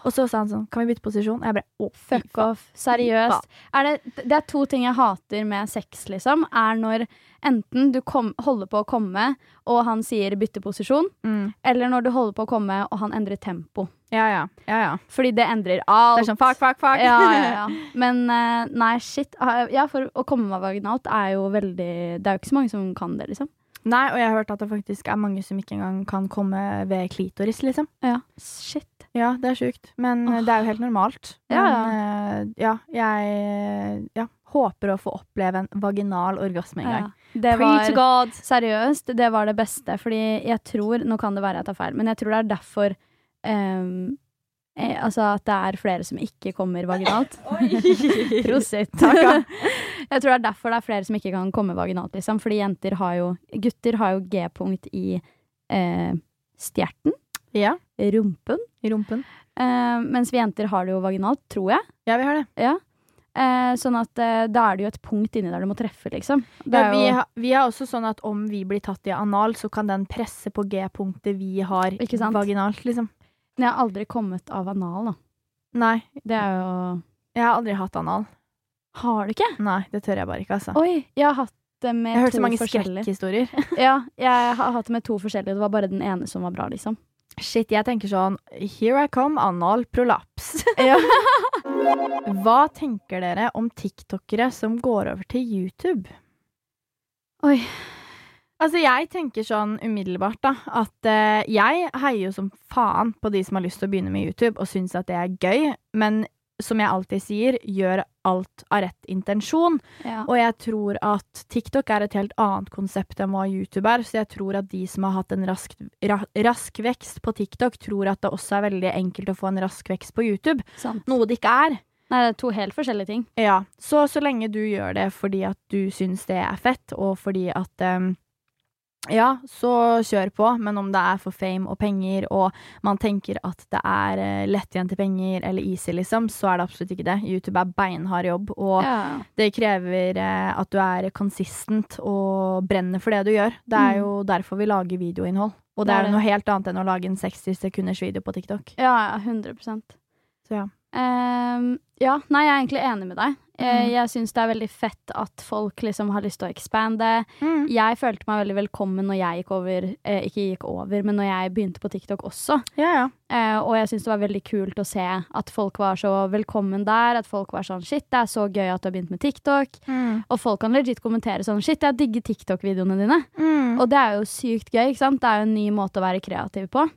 [SPEAKER 1] Og så sa han sånn, kan vi bytte posisjon? Jeg bare, å, fy
[SPEAKER 2] Fuck off. Seriøst. Er det, det er to ting jeg hater med sex, liksom. Er når enten du kom, holder på å komme, og han sier bytte posisjon,
[SPEAKER 1] Mm.
[SPEAKER 2] eller når du holder på å komme, og han endrer tempo.
[SPEAKER 1] Ja, ja, ja, ja.
[SPEAKER 2] Fordi det endrer alt.
[SPEAKER 1] Det er sånn, fuck, fuck, fuck.
[SPEAKER 2] Ja, ja, ja. Men eh, nei, shit. Ah, Ja, for å komme meg vaginalt er jo veldig Det er jo ikke så mange som kan det, liksom.
[SPEAKER 1] Nei, og jeg har hørt at det faktisk er mange som ikke engang kan komme ved klitoris, liksom.
[SPEAKER 2] Ja. Shit.
[SPEAKER 1] Ja, det er sjukt. Men eh, det er jo helt normalt.
[SPEAKER 2] Ja,
[SPEAKER 1] Men, eh, ja, jeg eh, ja, håper å få oppleve en vaginal orgasme en gang.
[SPEAKER 2] Ja. Det
[SPEAKER 1] Pray to
[SPEAKER 2] var
[SPEAKER 1] God!
[SPEAKER 2] Seriøst, det var det beste. Fordi jeg tror, nå kan det være jeg tar feil, men jeg tror det er derfor ehm, eh, Altså at det er flere som ikke kommer vaginalt. Prosit.
[SPEAKER 1] Takk, ja.
[SPEAKER 2] jeg tror det er derfor det er flere som ikke kan komme vaginalt, liksom. Fordi jenter har jo Gutter har jo G-punkt i eh, stjerten,
[SPEAKER 1] ja,
[SPEAKER 2] rumpen.
[SPEAKER 1] i rumpen.
[SPEAKER 2] Eh, mens vi jenter har det jo vaginalt, tror jeg.
[SPEAKER 1] Ja, vi har det.
[SPEAKER 2] Ja. Eh, sånn at eh, da er det jo et punkt inni der du må treffe, liksom. Det
[SPEAKER 1] Ja,
[SPEAKER 2] er
[SPEAKER 1] vi,
[SPEAKER 2] jo,
[SPEAKER 1] har, vi har også sånn at om vi blir tatt i anal, så kan den presse på G-punktet vi har
[SPEAKER 2] Ikke sant?
[SPEAKER 1] vaginalt, liksom.
[SPEAKER 2] jeg har aldri kommet av anal, da.
[SPEAKER 1] Nei,
[SPEAKER 2] Det er jo
[SPEAKER 1] jeg har aldri hatt anal.
[SPEAKER 2] Har du ikke?
[SPEAKER 1] Nei, det tør jeg bare ikke, altså.
[SPEAKER 2] Oi, jeg har hatt det med
[SPEAKER 1] Jeg har hørt
[SPEAKER 2] to
[SPEAKER 1] så mange
[SPEAKER 2] forskjellige.
[SPEAKER 1] skrekkhistorier.
[SPEAKER 2] Ja, jeg har hatt det med to forskjellige. Det var bare den ene som var bra, liksom.
[SPEAKER 1] Shit, jeg tenker sånn Here I come, anal prolaps. Hva tenker dere om tiktokere som går over til YouTube?
[SPEAKER 2] Oi.
[SPEAKER 1] Altså, jeg tenker sånn umiddelbart, da, at eh, jeg heier jo som faen på de som har lyst til å begynne med YouTube, og syns at det er gøy, men som jeg alltid sier, gjør alt av rett intensjon.
[SPEAKER 2] Ja.
[SPEAKER 1] Og jeg tror at TikTok er et helt annet konsept enn hva YouTube er, så jeg tror at de som har hatt en rask, ra, rask vekst på TikTok, tror at det også er veldig enkelt å få en rask vekst på YouTube.
[SPEAKER 2] Sant.
[SPEAKER 1] Noe det ikke er.
[SPEAKER 2] Nei, det er to helt forskjellige ting.
[SPEAKER 1] Ja, Så så lenge du gjør det fordi at du syns det er fett, og fordi at em, ja, så kjør på, men om det er for fame og penger, og man tenker at det er eh, lettjente penger eller easy, liksom, så er det absolutt ikke det. YouTube er beinhard jobb, og
[SPEAKER 2] Ja.
[SPEAKER 1] det krever eh, at du er consistent og brenner for det du gjør. Det er
[SPEAKER 2] Mm.
[SPEAKER 1] jo derfor vi lager videoinnhold. Og det
[SPEAKER 2] Det er
[SPEAKER 1] er
[SPEAKER 2] det.
[SPEAKER 1] noe helt annet enn å lage en 60 sekunders video på TikTok.
[SPEAKER 2] Ja, ja, 100
[SPEAKER 1] Så ja.
[SPEAKER 2] Ehm, Ja, nei, jeg er egentlig enig med deg. Eh,
[SPEAKER 1] Mm.
[SPEAKER 2] Jeg syns det er veldig fett at folk liksom har lyst til å expande.
[SPEAKER 1] Mm.
[SPEAKER 2] Jeg følte meg veldig velkommen når jeg gikk over, eh, ikke gikk over, men når jeg begynte på TikTok også.
[SPEAKER 1] Ja, ja.
[SPEAKER 2] Eh, og jeg syns det var veldig kult å se at folk var så velkommen der. At folk var sånn shit, det er så gøy at du har begynt med TikTok. Og folk kan legit kommentere sånn shit, jeg digger TikTok-videoene dine.
[SPEAKER 1] Mm.
[SPEAKER 2] Og det er jo sykt gøy, ikke sant. Det er jo en ny måte å være kreativ på.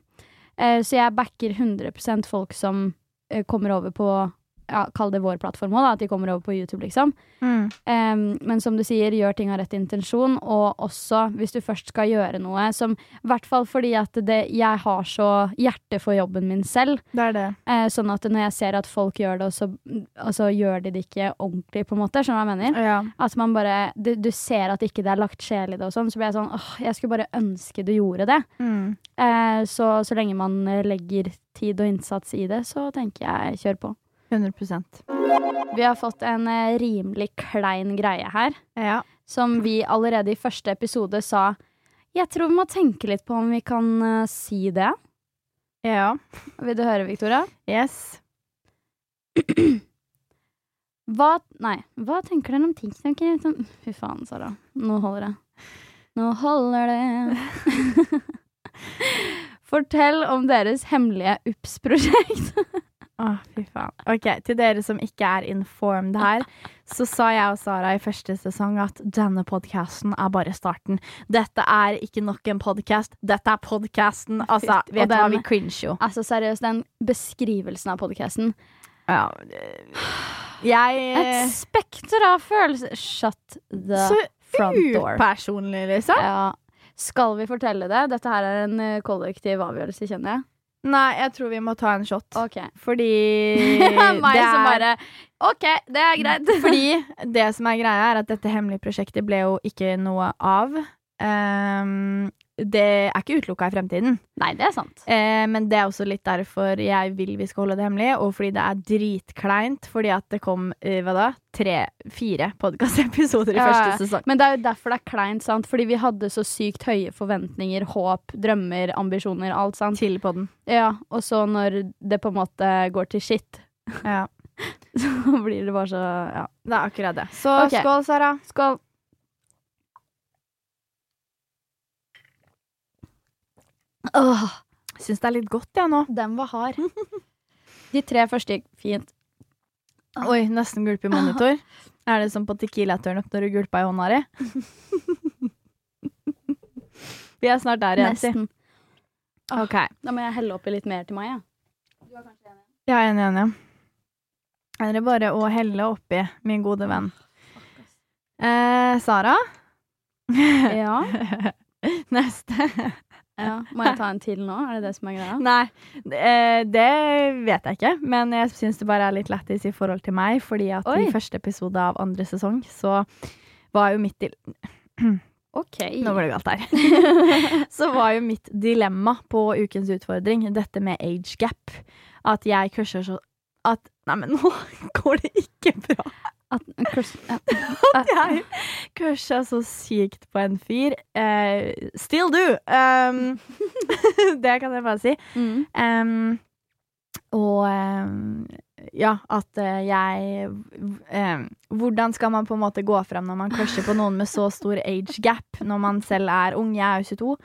[SPEAKER 2] Eh, så jeg backer 100 folk som eh, kommer over på ja, kall det vår plattform òg, at de kommer over på YouTube, liksom.
[SPEAKER 1] Mm.
[SPEAKER 2] Em, men som du sier, gjør ting av rett intensjon, og også hvis du først skal gjøre noe som I hvert fall fordi at det, jeg har så hjerte for jobben min selv,
[SPEAKER 1] Det er det.
[SPEAKER 2] eh, sånn at når jeg ser at folk gjør det, og så, og så gjør de det ikke ordentlig, på en måte, skjønner du hva jeg mener?
[SPEAKER 1] Ja.
[SPEAKER 2] At man bare, du, du ser at ikke det er lagt sjel i det, og sånn, så blir jeg sånn åh, jeg skulle bare ønske du gjorde det.
[SPEAKER 1] Mm.
[SPEAKER 2] Eh, så så lenge man eh, legger tid og innsats i det, så tenker jeg kjør på.
[SPEAKER 1] 100
[SPEAKER 2] Vi har fått en eh, rimelig klein greie her,
[SPEAKER 1] Ja.
[SPEAKER 2] som vi allerede i første episode sa Jeg tror vi må tenke litt på om vi kan eh, si det.
[SPEAKER 1] ja.
[SPEAKER 2] Vil du høre, Victoria?
[SPEAKER 1] Yes.
[SPEAKER 2] Hva, nei, hva tenker dere om ting som ikke som- Fy faen, Sara. Nå holder det. Nå holder det. Fortell om deres hemmelige UPS-prosjekt.
[SPEAKER 1] Å, fy faen. Ok, Til dere som ikke er informed her, så sa jeg og Sara i første sesong at denne podkasten er bare starten. Dette er ikke nok en podkast, dette er podkasten. Altså,
[SPEAKER 2] Fy, og
[SPEAKER 1] vet du hva,
[SPEAKER 2] den-
[SPEAKER 1] vi cringer jo.
[SPEAKER 2] Altså seriøst, den beskrivelsen av podkasten.
[SPEAKER 1] Ja. Jeg
[SPEAKER 2] Et spekter av følelser. Shut the
[SPEAKER 1] Så
[SPEAKER 2] front door.
[SPEAKER 1] upersonlig, liksom.
[SPEAKER 2] Ja. Skal vi fortelle det? Dette her er en eh, kollektiv avgjørelse, kjenner jeg.
[SPEAKER 1] Nei, jeg tror vi må ta en shot.
[SPEAKER 2] Ok.
[SPEAKER 1] Fordi
[SPEAKER 2] Meg som
[SPEAKER 1] det er-
[SPEAKER 2] bare OK, det er greit.
[SPEAKER 1] Fordi det som er greia, er at dette hemmelige prosjektet ble jo ikke noe av. Ehm, det er ikke utelukka i fremtiden,
[SPEAKER 2] Nei, det er sant.
[SPEAKER 1] Eh, men det er også litt derfor jeg vil vi skal holde det hemmelig, og fordi det er dritkleint fordi at det kom eh, hva da, tre-fire podkastepisoder i
[SPEAKER 2] Ja, ja.
[SPEAKER 1] første sesong.
[SPEAKER 2] Men det er jo derfor det er kleint, sant? Fordi vi hadde så sykt høye forventninger, håp, drømmer, ambisjoner, alt, sant?
[SPEAKER 1] Til podden.
[SPEAKER 2] Ja, og så når det på en måte går til shit,
[SPEAKER 1] Ja,
[SPEAKER 2] så blir det bare så Ja.
[SPEAKER 1] det er akkurat det. Så
[SPEAKER 2] Ok.
[SPEAKER 1] skål, Sara.
[SPEAKER 2] Skål. Åh,
[SPEAKER 1] Syns det er litt godt, jeg nå.
[SPEAKER 2] den var hard. De tre første gikk fint. Ah.
[SPEAKER 1] Oi, nesten gulp i monitor. Er det som på Tequila-turnup når du gulpa i hånda di? Vi er snart der igjen, si.
[SPEAKER 2] Nesten.
[SPEAKER 1] Ok.
[SPEAKER 2] Da må jeg helle oppi litt mer til meg, ja.
[SPEAKER 1] Jeg er enig, enig. Er det bare å helle oppi, min gode venn. Eh, Sara?
[SPEAKER 2] Ja,
[SPEAKER 1] Neste.
[SPEAKER 2] ja. Må jeg ta en til nå? Er det det som er greia?
[SPEAKER 1] Nei, eh, det vet jeg ikke, men jeg syns det bare er litt lættis i forhold til meg, fordi at
[SPEAKER 2] Oi.
[SPEAKER 1] i første episode av andre sesong så var jo mitt i
[SPEAKER 2] OK.
[SPEAKER 1] Nå går det galt her. så var jo mitt dilemma på ukens utfordring dette med age gap. At jeg crusher så at Nei, men nå går det ikke bra.
[SPEAKER 2] At, ja.
[SPEAKER 1] At jeg crusha så sykt på en fyr. Eh, still do! Um, det kan jeg bare si.
[SPEAKER 2] Mm.
[SPEAKER 1] Um, og um, ja, at eh, jeg um, Hvordan skal man på en måte gå fram når man crusher på noen med så stor age gap, når man selv er ung? Jeg er jo 22.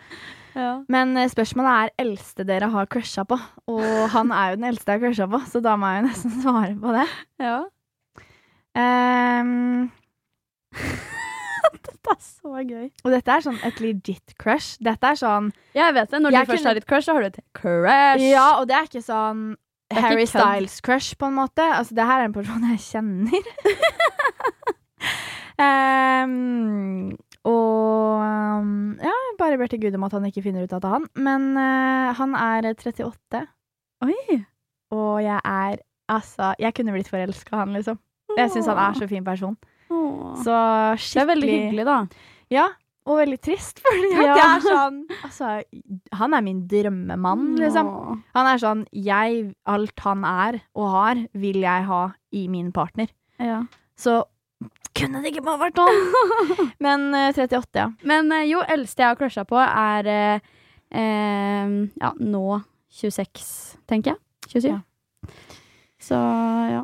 [SPEAKER 1] Men eh, spørsmålet er eldste dere har crusha på. Og han er jo den eldste jeg har crusha på, så da må jeg jo nesten svare på det.
[SPEAKER 2] ja.
[SPEAKER 1] Ehm,
[SPEAKER 2] Dette er så gøy.
[SPEAKER 1] og dette er sånn et legit crush. Dette er sånn
[SPEAKER 2] Jeg vet det. Når
[SPEAKER 1] Jeg
[SPEAKER 2] du først
[SPEAKER 1] kunne-
[SPEAKER 2] har et crush, så har du et crush.
[SPEAKER 1] Ja, og det er ikke sånn
[SPEAKER 2] er ikke
[SPEAKER 1] Harry
[SPEAKER 2] kødd.
[SPEAKER 1] Styles-crush, på en måte. Altså, det her er en person jeg kjenner. Ehm, og um, ja, bare ber til Gud om at han ikke finner ut at det er han. Men eh, han er 38,
[SPEAKER 2] Oi.
[SPEAKER 1] og jeg er Altså, jeg kunne blitt forelska i han, liksom. Jeg syns han er så fin person.
[SPEAKER 2] Åh.
[SPEAKER 1] Så
[SPEAKER 2] Det er veldig
[SPEAKER 1] skikkelig
[SPEAKER 2] hyggelig, da.
[SPEAKER 1] Ja, og veldig trist, fordi at
[SPEAKER 2] Ja.
[SPEAKER 1] jeg er sånn Altså, han er min drømmemann,
[SPEAKER 2] Mm.
[SPEAKER 1] liksom.
[SPEAKER 2] Åh.
[SPEAKER 1] Han er sånn jeg, Alt han er og har, vil jeg ha i min partner.
[SPEAKER 2] Ja.
[SPEAKER 1] Så kunne det ikke bare vært sånn? Men eh, 38, ja.
[SPEAKER 2] Men eh, jo, eldste jeg har crusha på, er eh, eh, ja, nå 26, tenker jeg. 27.
[SPEAKER 1] Ja.
[SPEAKER 2] Så ja.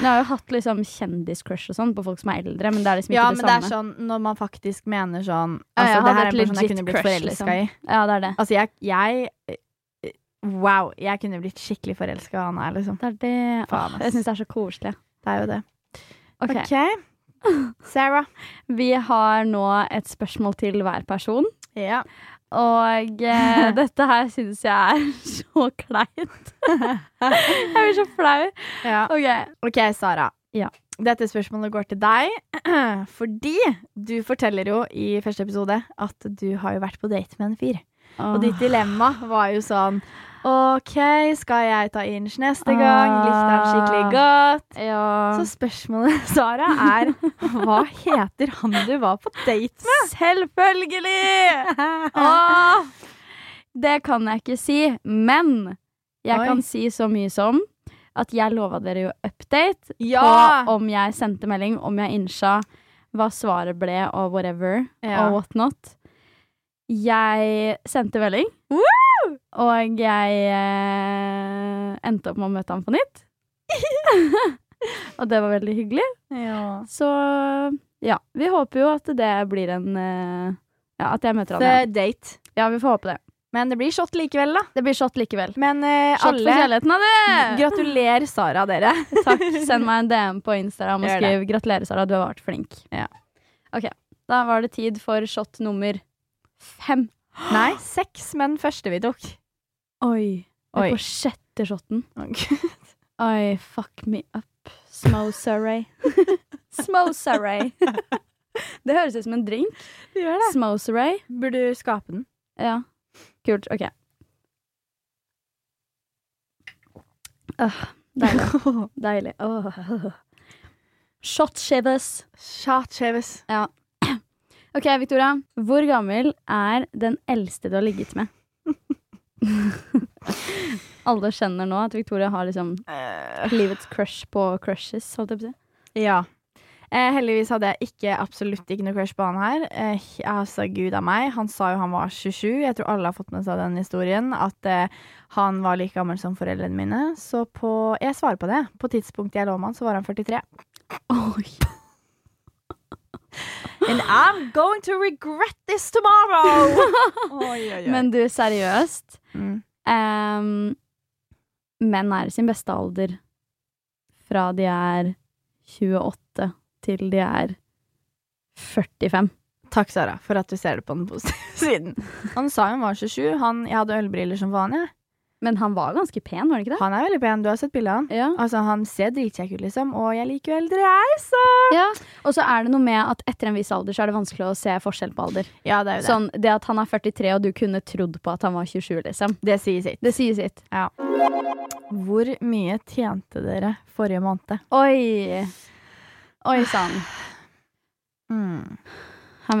[SPEAKER 2] Men Jeg har jo hatt liksom kjendiscrush og sånn på folk som er eldre, men det er liksom ikke
[SPEAKER 1] Ja,
[SPEAKER 2] det
[SPEAKER 1] men det er
[SPEAKER 2] samme.
[SPEAKER 1] sånn når man faktisk mener sånn
[SPEAKER 2] Ja, jeg
[SPEAKER 1] Altså, det
[SPEAKER 2] hadde
[SPEAKER 1] her er en
[SPEAKER 2] et
[SPEAKER 1] person jeg
[SPEAKER 2] legit
[SPEAKER 1] kunne blitt
[SPEAKER 2] crush,
[SPEAKER 1] forelska
[SPEAKER 2] liksom.
[SPEAKER 1] i.
[SPEAKER 2] ja, det er det.
[SPEAKER 1] Altså, jeg, jeg eh, Wow, jeg kunne blitt skikkelig forelska i han her, liksom.
[SPEAKER 2] det, er det.
[SPEAKER 1] Faen,
[SPEAKER 2] Åh,
[SPEAKER 1] ass.
[SPEAKER 2] jeg syns det er så koselig.
[SPEAKER 1] Det er jo det.
[SPEAKER 2] Ok.
[SPEAKER 1] Ok. Sarah.
[SPEAKER 2] Vi har nå et spørsmål til hver person.
[SPEAKER 1] Ja.
[SPEAKER 2] Og eh, dette her syns jeg er så så kleint. jeg blir så flau.
[SPEAKER 1] Ja.
[SPEAKER 2] Ok.
[SPEAKER 1] OK, Sara.
[SPEAKER 2] Ja.
[SPEAKER 1] Dette spørsmålet går til deg, fordi du forteller jo i første episode at du har jo vært på date med en fyr. Og ditt dilemma var jo sånn OK, skal jeg ta inch neste gang? Likte han skikkelig godt?
[SPEAKER 2] Ja.
[SPEAKER 1] Så spørsmålet, Sara, er hva heter han du var på date med? Selvfølgelig!
[SPEAKER 2] Åh! Det kan jeg ikke si, men jeg
[SPEAKER 1] Oi.
[SPEAKER 2] kan si så mye som at jeg lova dere jo update
[SPEAKER 1] Ja!
[SPEAKER 2] på om jeg sendte melding, om jeg innsja hva svaret ble og whatever
[SPEAKER 1] Ja.
[SPEAKER 2] og whatnot. Jeg sendte melding, og jeg eh, endte opp med å møte ham på nytt. og det var veldig hyggelig. Så ja, vi håper jo at det blir en eh, Ja, at jeg møter han
[SPEAKER 1] The
[SPEAKER 2] igjen.
[SPEAKER 1] date.
[SPEAKER 2] Ja, vi får håpe det.
[SPEAKER 1] Men det blir shot likevel, da.
[SPEAKER 2] Det blir shot likevel.
[SPEAKER 1] Men eh,
[SPEAKER 2] Shot for
[SPEAKER 1] alle
[SPEAKER 2] kjærligheten, da, du!
[SPEAKER 1] Gratulerer, Sara, dere.
[SPEAKER 2] Takk. Send meg en DM på Instagram og
[SPEAKER 1] Gjør det.
[SPEAKER 2] skriv 'Gratulerer, Sara, du har vært flink'.
[SPEAKER 1] Ja.
[SPEAKER 2] Ok, Da var det tid for shot nummer fem.
[SPEAKER 1] Nei, seks, men første vi tok.
[SPEAKER 2] Oi.
[SPEAKER 1] Oi.
[SPEAKER 2] Oi. På sjette shoten.
[SPEAKER 1] Ok.
[SPEAKER 2] Oi, fuck me up. Smo surrey. Smo surrey. det høres ut som en drink. Smo surrey.
[SPEAKER 1] Burde du skape den?
[SPEAKER 2] Ja. Kult. Ok. Øh, deilig. Deilig. Åh. Shot shivers.
[SPEAKER 1] Shot shaves.
[SPEAKER 2] Ok, Victoria. Hvor gammel er den eldste du har ligget med? Alle skjønner nå at Victoria har liksom
[SPEAKER 1] Eh,
[SPEAKER 2] livets crush på crushes, holdt jeg på å si.
[SPEAKER 1] Ja. Eh, heldigvis hadde jeg ikke absolutt ikke noe crush på han her. Eh, altså, gud av meg. Han sa jo han var 27. Jeg tror alle har fått med seg den historien. At eh, han var like gammel som foreldrene mine. Så på Jeg svarer på det. På tidspunktet jeg lå med han, så var han 43.
[SPEAKER 2] Oi.
[SPEAKER 1] And I'm going to regret this tomorrow! oi, oi,
[SPEAKER 2] Men du, seriøst.
[SPEAKER 1] mm.
[SPEAKER 2] Ehm, menn er i sin beste alder fra de er 28 til de er 45.
[SPEAKER 1] Takk, Sara, for at du ser det på den positive siden. Han sa hun var 27. Han, jeg hadde ølbriller som faen, jeg.
[SPEAKER 2] Men han var ganske pen, var han ikke det?
[SPEAKER 1] Han er veldig pen. Du har sett bildet av han.
[SPEAKER 2] Ja.
[SPEAKER 1] Altså, han ser dritkjekk ut, liksom. Og jeg liker jo eldre, jeg, så
[SPEAKER 2] ja. Ah. Og så er det noe med at etter en viss alder så er det vanskelig å se forskjell på alder.
[SPEAKER 1] Ja, det er jo det.
[SPEAKER 2] Sånn, Det at han er 43 og du kunne trodd på at han var 27, liksom.
[SPEAKER 1] Det sier sitt.
[SPEAKER 2] Det sier sitt.
[SPEAKER 1] Hvor mye tjente dere forrige måned?
[SPEAKER 2] Oi. Oi sann. Her må
[SPEAKER 1] Hmm.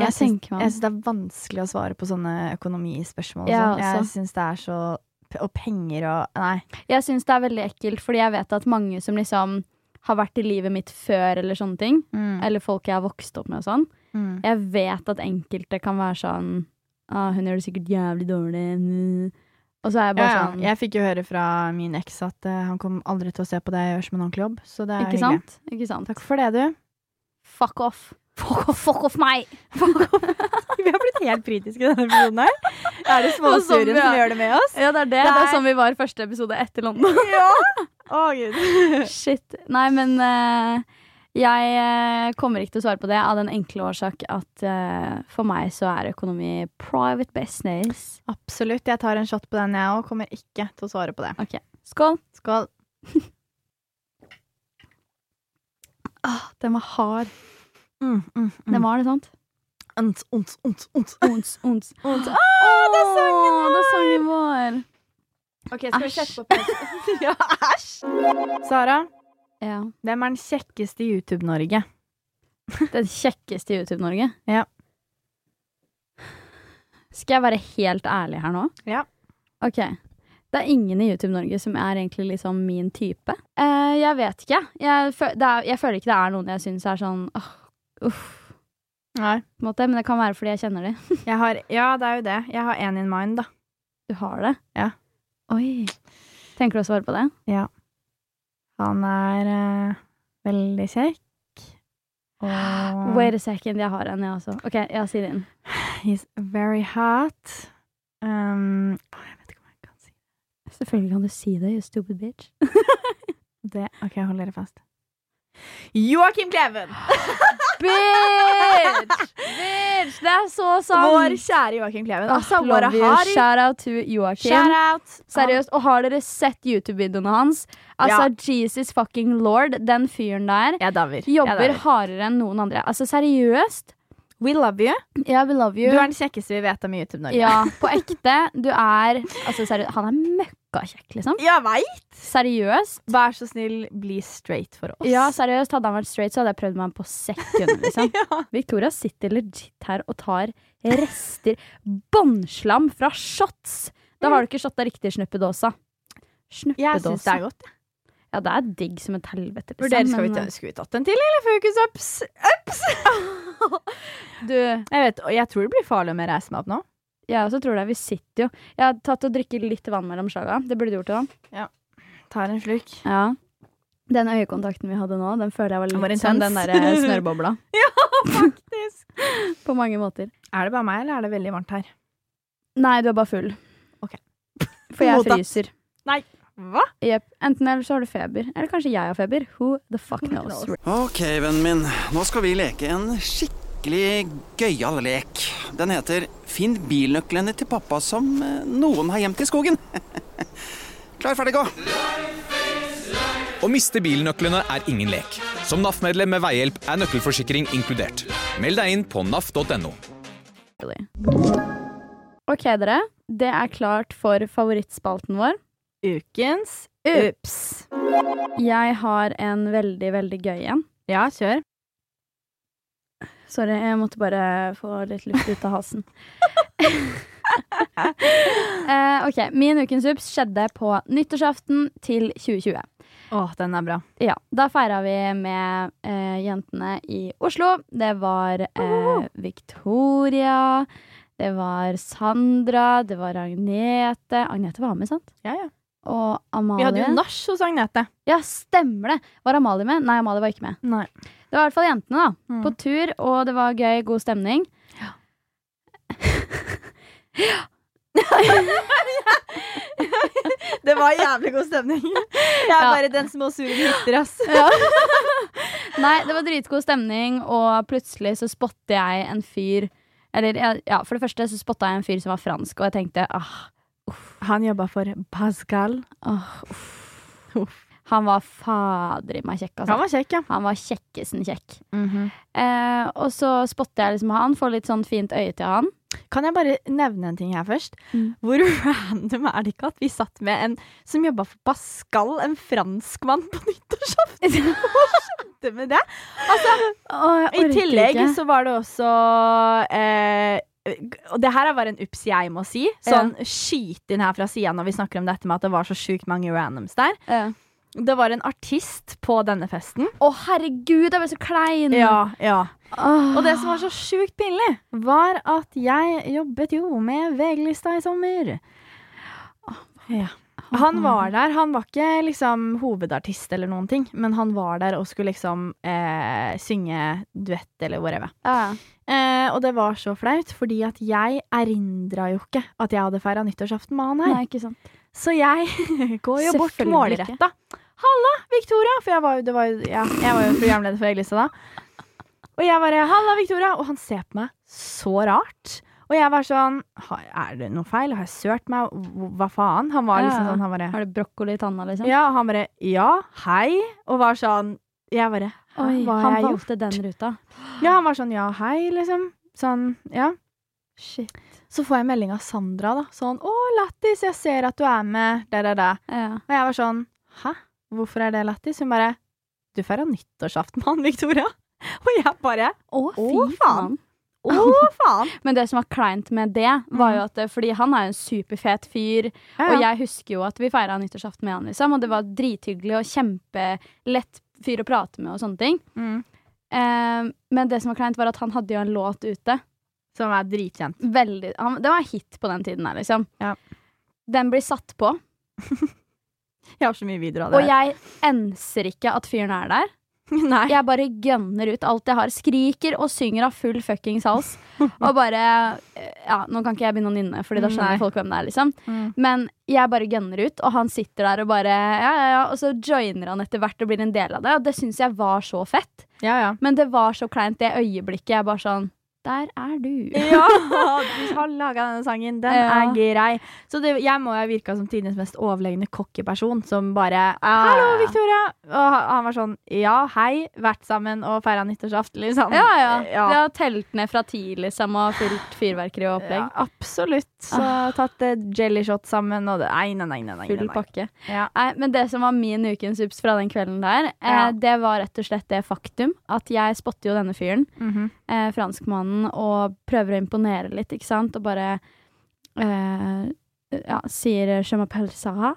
[SPEAKER 1] Jeg
[SPEAKER 2] jeg tenke meg
[SPEAKER 1] Jeg
[SPEAKER 2] om.
[SPEAKER 1] syns det er vanskelig å svare på sånne økonomispørsmål. og
[SPEAKER 2] Ja,
[SPEAKER 1] sånn.
[SPEAKER 2] altså.
[SPEAKER 1] jeg syns det er så Og penger og Nei.
[SPEAKER 2] Jeg syns det er veldig ekkelt, fordi jeg vet at mange som liksom har vært i livet mitt før, eller sånne ting,
[SPEAKER 1] Hmm.
[SPEAKER 2] eller folk jeg har vokst opp med og sånn.
[SPEAKER 1] Mm.
[SPEAKER 2] Jeg vet at enkelte kan være sånn ah, 'Hun gjør det sikkert jævlig dårlig.' mm». Og så er jeg
[SPEAKER 1] Ja,
[SPEAKER 2] bare
[SPEAKER 1] ja.
[SPEAKER 2] sånn
[SPEAKER 1] Jeg fikk jo høre fra min eks at eh, han kom aldri til å se på det jeg gjør som en ordentlig jobb. Så det er
[SPEAKER 2] Ikke
[SPEAKER 1] hyggelig.
[SPEAKER 2] sant? Ikke sant?
[SPEAKER 1] Takk for det, du.
[SPEAKER 2] Fuck off. Fuck off, fuck off meg!
[SPEAKER 1] Vi har blitt helt kritiske i denne episoden her. Er det
[SPEAKER 2] Og zombie,
[SPEAKER 1] småsuren
[SPEAKER 2] ja.
[SPEAKER 1] som gjør det med oss?
[SPEAKER 2] Ja, det er det. Det
[SPEAKER 1] Det
[SPEAKER 2] er
[SPEAKER 1] er
[SPEAKER 2] sånn vi var i første episode etter London.
[SPEAKER 1] Ja! Å, gud.
[SPEAKER 2] Shit. Nei, men eh, jeg eh, kommer ikke til å svare på det av den enkle årsak at eh, for meg så er økonomi private business.
[SPEAKER 1] Absolutt. Jeg tar en shot på den, jeg òg. Kommer ikke til å svare på det.
[SPEAKER 2] Ok, Skål.
[SPEAKER 1] Skål.
[SPEAKER 2] Ah, den var hard.
[SPEAKER 1] Mm, mm, mm.
[SPEAKER 2] Den var det, sant?
[SPEAKER 1] Ont, ont, ont, ont,
[SPEAKER 2] Ons, ons.
[SPEAKER 1] ont.
[SPEAKER 2] Å, det er sangen vår! Det er sangen vår.
[SPEAKER 1] Ok, skal vi
[SPEAKER 2] Æsj.
[SPEAKER 1] sette på pause? ja, æsj! Sara,
[SPEAKER 2] Ja.
[SPEAKER 1] hvem er den kjekkeste i YouTube-Norge?
[SPEAKER 2] Den kjekkeste i YouTube-Norge?
[SPEAKER 1] Ja.
[SPEAKER 2] Skal jeg være helt ærlig her nå?
[SPEAKER 1] Ja.
[SPEAKER 2] Ok. Det er ingen i YouTube-Norge som er egentlig liksom min type. Eh, jeg vet ikke. Jeg, fø det er, jeg føler ikke det er noen jeg syns er sånn åh, uff,
[SPEAKER 1] Nei.
[SPEAKER 2] på en måte. Men det kan være fordi jeg kjenner dem.
[SPEAKER 1] Jeg har, ja, det er jo det. Jeg har én in mind, da.
[SPEAKER 2] Du har det?
[SPEAKER 1] Ja.
[SPEAKER 2] Oi. Tenker du å svare på det?
[SPEAKER 1] Han er eh, veldig kjekk. Og
[SPEAKER 2] Wait a second, jeg har en, jeg også. Ok, jeg sier din.
[SPEAKER 1] he's very hot. Um, å, jeg vet ikke hva jeg kan si.
[SPEAKER 2] Selvfølgelig kan du si det, you stupid bitch.
[SPEAKER 1] Det, ok, hold dere fast. Joakim Kleven!
[SPEAKER 2] Bitch! Bitch! Det er så
[SPEAKER 1] Vår
[SPEAKER 2] sant!
[SPEAKER 1] kjære Joakim Kleven. Altså,
[SPEAKER 2] Ah, Love
[SPEAKER 1] våra
[SPEAKER 2] you.
[SPEAKER 1] har
[SPEAKER 2] Shout out to Joakim.
[SPEAKER 1] out.
[SPEAKER 2] Seriøst. Og har dere sett YouTube-videoene hans? Altså, Jesus fucking lord, den fyren der
[SPEAKER 1] Jeg daver. Jeg
[SPEAKER 2] jobber
[SPEAKER 1] daver.
[SPEAKER 2] hardere enn noen andre. Altså, seriøst.
[SPEAKER 1] We love you.
[SPEAKER 2] Yeah, we love
[SPEAKER 1] Du
[SPEAKER 2] you.
[SPEAKER 1] er den kjekkeste vi vet om i YouTube-Norge.
[SPEAKER 2] Ja, på ekte. Du er Altså, seriøst. Han er møkkakjekk, liksom.
[SPEAKER 1] Jeg veit!
[SPEAKER 2] Seriøst.
[SPEAKER 1] Vær så snill, bli straight for oss.
[SPEAKER 2] Ja, seriøst. Hadde han vært straight, så hadde jeg prøvd meg på sekund. Liksom.
[SPEAKER 1] Ja.
[SPEAKER 2] Victoria sitter legit her og tar rester båndslam fra shots! Da har du ikke shotta riktig snuppedåsa.
[SPEAKER 1] Mm. Jeg syns det
[SPEAKER 2] Snuppedåsa.
[SPEAKER 1] er godt.
[SPEAKER 2] Ja, det er digg som et helvete. liksom,
[SPEAKER 1] Vurderer, skal, vi
[SPEAKER 2] men,
[SPEAKER 1] ta- skal vi tatt en til, eller? Focus-ups.
[SPEAKER 2] Du,
[SPEAKER 1] Jeg vet, og jeg tror det blir farlig om jeg reiser meg opp nå.
[SPEAKER 2] jeg også tror det. Vi sitter jo. Jeg har tatt og drikket litt vann mellom slaga. Det burde du gjort òg.
[SPEAKER 1] Tar en slurk.
[SPEAKER 2] Ja. Den øyekontakten vi hadde nå, den føler jeg var
[SPEAKER 1] Den var
[SPEAKER 2] litt som
[SPEAKER 1] intens.
[SPEAKER 2] den derre snørrbobla.
[SPEAKER 1] Faktisk.
[SPEAKER 2] På mange måter.
[SPEAKER 1] Er det bare meg, eller er det veldig varmt her?
[SPEAKER 2] Nei, du er bare full.
[SPEAKER 1] Ok.
[SPEAKER 2] For jeg
[SPEAKER 1] Mottatt.
[SPEAKER 2] fryser.
[SPEAKER 1] Hva?
[SPEAKER 2] Jep. Enten eller så har du feber. Eller kanskje jeg har feber. Who the fuck knows?
[SPEAKER 3] Ok, vennen min. Nå skal vi leke en skikkelig gøyal lek. Den heter Finn bilnøklene til pappa som eh, noen har gjemt i skogen. Klar, ferdig, gå!
[SPEAKER 4] Å miste bilnøklene er ingen lek. Som NAF-medlem med veihjelp er nøkkelforsikring inkludert. Meld deg inn på naf.no.
[SPEAKER 2] Really. Ok, dere. Det er klart for favorittspalten vår.
[SPEAKER 1] Ukens
[SPEAKER 2] Ups. Jeg har en veldig, veldig gøy en.
[SPEAKER 1] Ja, kjør.
[SPEAKER 2] Sorry, jeg måtte bare få litt luft ut av halsen. Eh, ok, Min ukens ups skjedde på nyttårsaften til 2020.
[SPEAKER 1] Å, den er bra.
[SPEAKER 2] Ja, da feira vi med eh, jentene i Oslo. Det var eh, Victoria, det var Sandra, det var Agnete. Agnete var med, sant?
[SPEAKER 1] Ja, ja.
[SPEAKER 2] Og Amalie.
[SPEAKER 1] Vi hadde jo nach hos Agnete.
[SPEAKER 2] Ja, stemmer det! Var Amalie med? Nei, Amalie var ikke med.
[SPEAKER 1] Nei.
[SPEAKER 2] Det var i hvert fall jentene, da.
[SPEAKER 1] Mm.
[SPEAKER 2] På tur, og det var gøy, god stemning.
[SPEAKER 1] Det var jævlig god stemning. Jeg er
[SPEAKER 2] Ja.
[SPEAKER 1] bare den små sure gutter, ass.
[SPEAKER 2] Nei, det var dritgod stemning, og plutselig så spotter jeg en fyr Eller, jeg- ja, for det første så spotta jeg en fyr som var fransk, og jeg tenkte ah,
[SPEAKER 1] Han jobba for Pascal.
[SPEAKER 2] Åh, uff. Han var fader i meg kjekk, altså.
[SPEAKER 1] Han var kjekk, ja.
[SPEAKER 2] Han var kjekkesen kjekk. Eh, og så spotter jeg liksom han, får litt sånn fint øye til han.
[SPEAKER 1] Kan jeg bare nevne en ting her først?
[SPEAKER 2] Mm.
[SPEAKER 1] Hvor random er det ikke at vi satt med en som jobba for Pascal, en franskmann, på nyttårsaften? Det med det.
[SPEAKER 2] Åh, jeg
[SPEAKER 1] I
[SPEAKER 2] orker
[SPEAKER 1] tillegg
[SPEAKER 2] ikke.
[SPEAKER 1] så var det også eh, Og det her er bare en ups jeg må si. Sånn skyt inn her fra sida når vi snakker om dette med at det var så sjukt mange randoms der.
[SPEAKER 2] Ja.
[SPEAKER 1] Det var en artist på denne festen.
[SPEAKER 2] Å, herregud, jeg ble så klein!
[SPEAKER 1] ja.
[SPEAKER 2] Åh.
[SPEAKER 1] Og det som var så sjukt pinlig, var at jeg jobbet jo med VG-lista i sommer. Ja. Han var der. Han var ikke liksom hovedartist eller noen ting, men han var der og skulle liksom eh, synge duett eller whatever.
[SPEAKER 2] Ja.
[SPEAKER 1] Eh, og det var så flaut, fordi at jeg erindra jo ikke at jeg hadde feira nyttårsaften med han her.
[SPEAKER 2] Nei, ikke sant.
[SPEAKER 1] Så jeg går jo bort
[SPEAKER 2] Selvfølgelig
[SPEAKER 1] målretta. Halla, Victoria! For jeg var, jo- det var, jo- ja, jeg var jo programleder for Eglista da. Og jeg bare 'Halla, Victoria!' Og han ser på meg så rart. Og jeg var sånn «Har- Er det noe feil? Har jeg sørt meg? Hva- Hva faen? Han var liksom
[SPEAKER 2] Ja.
[SPEAKER 1] sånn han bare,
[SPEAKER 2] Har du brokkoli i tanna, liksom?
[SPEAKER 1] Ja, og han bare 'Ja, hei', og var sånn Jeg bare «Hæ,
[SPEAKER 2] Oi,
[SPEAKER 1] Hva har
[SPEAKER 2] han
[SPEAKER 1] jeg gjort?
[SPEAKER 2] valgte den ruta.
[SPEAKER 1] Ja, han var sånn 'Ja, hei', liksom. Sånn, ja.
[SPEAKER 2] Shit.
[SPEAKER 1] Så får jeg melding av Sandra, da. Sånn 'Å, Lattis, jeg ser at du er med der, der, der'.
[SPEAKER 2] Ja.
[SPEAKER 1] Og jeg var sånn Hæ? Hvorfor er det lættis? Hun bare Du feira nyttårsaften med han, Victoria. Og jeg bare
[SPEAKER 2] Å,
[SPEAKER 1] Å, faen. Å, faen!
[SPEAKER 2] Men det som var kleint med det, var jo at eh, fordi han er jo en superfet fyr,
[SPEAKER 1] Mhm. Ja,
[SPEAKER 2] Og
[SPEAKER 1] ja.
[SPEAKER 2] jeg husker jo at vi feira nyttårsaften med han, liksom, og det var drithyggelig og kjempelett fyr å prate med og sånne ting.
[SPEAKER 1] Mm.
[SPEAKER 2] Eh, men det som var kleint, var at han hadde jo en låt ute.
[SPEAKER 1] Som er dritkjent.
[SPEAKER 2] Veldig, han, det var hit på den tiden her, liksom.
[SPEAKER 1] Ja.
[SPEAKER 2] Den blir satt på,
[SPEAKER 1] Jeg har så mye videoer av
[SPEAKER 2] og
[SPEAKER 1] det.
[SPEAKER 2] jeg enser ikke at fyren er der.
[SPEAKER 1] Nei.
[SPEAKER 2] Jeg bare gønner ut alt jeg har. Skriker og synger av full fuckings hals. Og bare eh, Ja, nå kan ikke jeg begynne å nynne, Fordi da skjønner
[SPEAKER 1] Nei.
[SPEAKER 2] folk hvem det er, liksom.
[SPEAKER 1] Mm.
[SPEAKER 2] Men jeg bare gønner ut, og han sitter der og bare Ja, ja, ja. Og så joiner han etter hvert og blir en del av det, og det syns jeg var så fett.
[SPEAKER 1] Ja, ja.
[SPEAKER 2] Men det var så kleint, det øyeblikket. Jeg bare sånn Der er du.
[SPEAKER 1] Ja, du har laga denne sangen. Den
[SPEAKER 2] Ja.
[SPEAKER 1] er grei. Så det, jeg må jo ha virka som tidenes mest overlegne kokkeperson, som bare 'Hallo, Victoria!' Og ha- han var sånn 'Ja, hei, vært sammen og feira nyttårsaften', liksom.
[SPEAKER 2] Ja, ja.
[SPEAKER 1] Ja.
[SPEAKER 2] Det har telt ned fra ti, liksom, og fylt fyrverkeri og opplegg. Ah.
[SPEAKER 1] Ja, absolutt. Så tatt eh, jellyshot sammen og det Nei, nei, nei. nei, nei, nei,
[SPEAKER 2] Full
[SPEAKER 1] nei.
[SPEAKER 2] pakke.
[SPEAKER 1] Ja.
[SPEAKER 2] Nei, men det som var min ukens ups fra den kvelden der,
[SPEAKER 1] Ja.
[SPEAKER 2] eh, det var rett og slett det faktum at jeg spotter jo denne fyren,
[SPEAKER 1] Mhm.
[SPEAKER 2] eh, franskmannen, og prøver å imponere litt, ikke sant, og bare eh, ja, sier 'je m'appelle Sarah',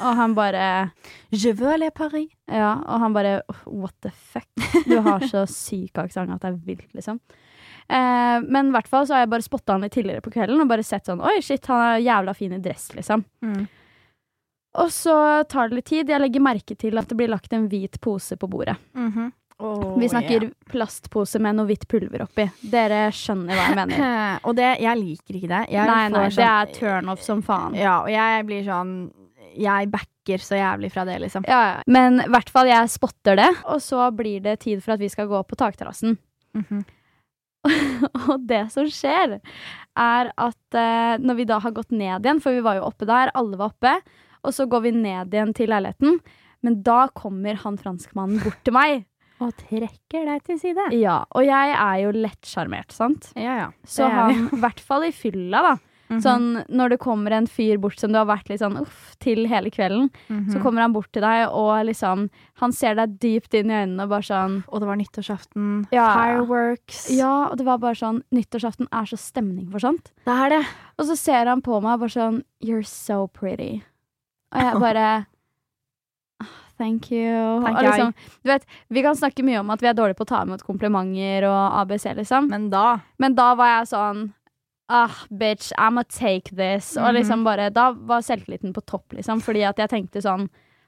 [SPEAKER 2] og han bare
[SPEAKER 1] Je veux aller Paris.
[SPEAKER 2] ja, og han bare What the fuck? Du har så syk aksent at det er vilt, liksom. Eh, men i hvert fall så har jeg bare spotta han litt tidligere på kvelden og bare sett sånn Oi, shit, han er jævla fin i dress, liksom.
[SPEAKER 1] mhm,
[SPEAKER 2] Og så tar det litt tid. Jeg legger merke til at det blir lagt en hvit pose på bordet.
[SPEAKER 1] Mhm. Åh,
[SPEAKER 2] Vi snakker plastpose med noe hvitt pulver oppi. Dere skjønner hva jeg mener.
[SPEAKER 1] ja. Og det, jeg liker ikke det. Jeg
[SPEAKER 2] Nei,
[SPEAKER 1] får
[SPEAKER 2] nei, det
[SPEAKER 1] sånn-
[SPEAKER 2] er turn off som faen. Ja,
[SPEAKER 1] Ja, og jeg blir sånn Jeg backer så jævlig fra det, liksom.
[SPEAKER 2] ja. Men i hvert fall, jeg spotter det, og så blir det tid for at vi skal gå på takterrassen.
[SPEAKER 1] Mhm.
[SPEAKER 2] Og det som skjer, er at eh, når vi da har gått ned igjen, for vi var jo oppe der, alle var oppe, og så går vi ned igjen til leiligheten, men da kommer han franskmannen bort til meg.
[SPEAKER 1] Og trekker deg til side.
[SPEAKER 2] Ja, og jeg er jo lettsjarmert, sant?
[SPEAKER 1] Ja, ja.
[SPEAKER 2] Så
[SPEAKER 1] Det er vi. Mhm,
[SPEAKER 2] han, i hvert fall i fylla, da. Sånn når det kommer en fyr bort som du har vært litt sånn uff til hele kvelden,
[SPEAKER 1] mhm.
[SPEAKER 2] så kommer han bort til deg, og liksom Han ser deg dypt inn i øynene og bare sånn
[SPEAKER 1] Og det var nyttårsaften.
[SPEAKER 2] Ja.
[SPEAKER 1] Fireworks.
[SPEAKER 2] Ja, og det var bare sånn Nyttårsaften er så stemning for sånt.
[SPEAKER 1] Det er det.
[SPEAKER 2] Og så ser han på meg og bare sånn You're so pretty. Og jeg bare «Ah, Thank you.
[SPEAKER 1] Thank
[SPEAKER 2] og
[SPEAKER 1] you.
[SPEAKER 2] liksom, du vet, vi kan snakke mye om at vi er dårlige på å ta imot komplimenter og ABC, liksom.
[SPEAKER 1] Men da
[SPEAKER 2] Men da var jeg sånn Ah, bitch, I'm gonna take this. Og liksom bare, Da var selvtilliten på topp, liksom. Fordi at jeg tenkte sånn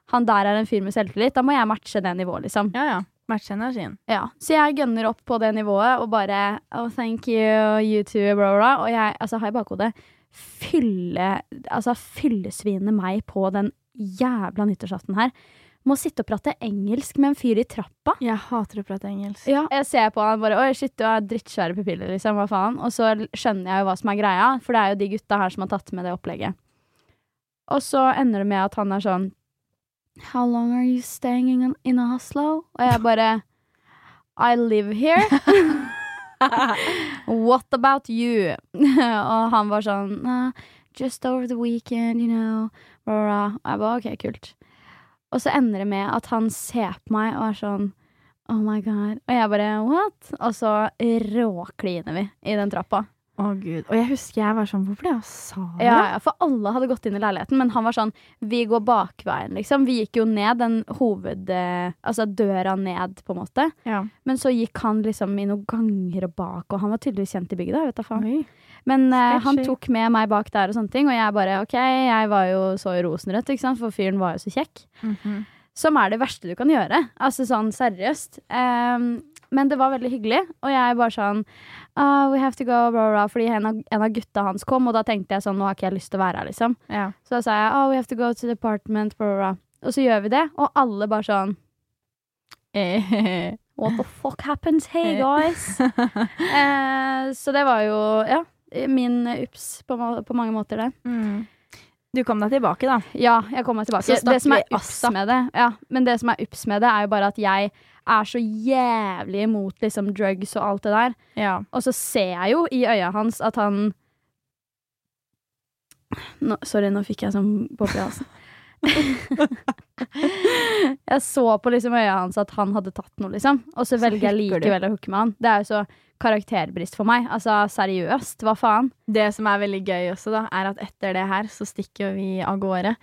[SPEAKER 2] Han der er en fyr med selvtillit. Da må jeg matche det nivået, liksom.
[SPEAKER 1] Ja, ja. Matche energien.
[SPEAKER 2] Ja, Så jeg gønner opp på det nivået og bare Oh, thank you, you too, bro, bro. Og jeg, altså, har i bakhodet fylle, altså, fyllesvinet meg på den jævla nyttårsaften her. Må sitte og prate engelsk med en fyr i trappa.
[SPEAKER 1] Jeg hater å prate engelsk.
[SPEAKER 2] Ja. Jeg ser på han bare Oi, shit, du har drittsvære pupiller, liksom. Hva faen? Og så skjønner jeg jo hva som er greia, for det er jo de gutta her som har tatt med det opplegget. Og så ender det med at han er sånn How long are you staying in, in Oslo? Og jeg bare I live here. What about you? og han var sånn "Nah, Just over the weekend, you know. Blah, blah. Og jeg bare OK, kult. Og så ender det med at han ser på meg og er sånn Oh my god. Og jeg bare what? Og så råkliner vi i den trappa.
[SPEAKER 1] Å, gud. Og jeg husker jeg var sånn Hvorfor ble jeg sa det?
[SPEAKER 2] Ja, ja, For alle hadde gått inn i leiligheten, men han var sånn Vi går bakveien, liksom. Vi gikk jo ned den hoved... eh, Altså døra ned, på en måte.
[SPEAKER 1] Ja.
[SPEAKER 2] Men så gikk han liksom i noen ganger og bak, og han var tydeligvis kjent i bygget. da, vet da faen.
[SPEAKER 1] Oi.
[SPEAKER 2] Men eh, han
[SPEAKER 1] Sketchy.
[SPEAKER 2] tok med meg bak der og sånne ting, og jeg bare OK, jeg var jo så rosenrødt, ikke sant, for fyren var jo så kjekk.
[SPEAKER 1] Mhm.
[SPEAKER 2] Som er det verste du kan gjøre. Altså sånn seriøst. Ehm, men det var veldig hyggelig, og jeg bare sånn «Ah, We have to go, bla, bla, bla. Fordi en av, en av gutta hans kom, og da tenkte jeg sånn Nå har ikke jeg lyst til å være her, liksom.
[SPEAKER 1] ja.
[SPEAKER 2] Så da sa jeg oh, we have to go to the apartment, bla, bla, bla. Og så gjør vi det, og alle bare sånn What the fuck happens? Hey, guys! Eh, så det var jo, ja, min ups på, ma- på mange måter, det.
[SPEAKER 1] Mm. Du kom deg tilbake, da.
[SPEAKER 2] Ja, jeg kommer meg
[SPEAKER 1] Så
[SPEAKER 2] tilbake.
[SPEAKER 1] stakk
[SPEAKER 2] Det som er
[SPEAKER 1] vi
[SPEAKER 2] ups med det, ja, men det som er ups med det, er jo bare at jeg er så jævlig imot liksom drugs og alt det der.
[SPEAKER 1] Ja.
[SPEAKER 2] Og så ser jeg jo i øya hans at han nå, Sorry, nå fikk jeg sånn boble i halsen. jeg så på liksom øya hans at han hadde tatt noe, liksom. Og så,
[SPEAKER 1] Så
[SPEAKER 2] velger jeg
[SPEAKER 1] hooker du.
[SPEAKER 2] likevel å hooke med han. Det er jo så karakterbrist for meg. Altså seriøst, hva faen?
[SPEAKER 1] Det som er veldig gøy også, da, er at etter det her så stikker vi av gårde.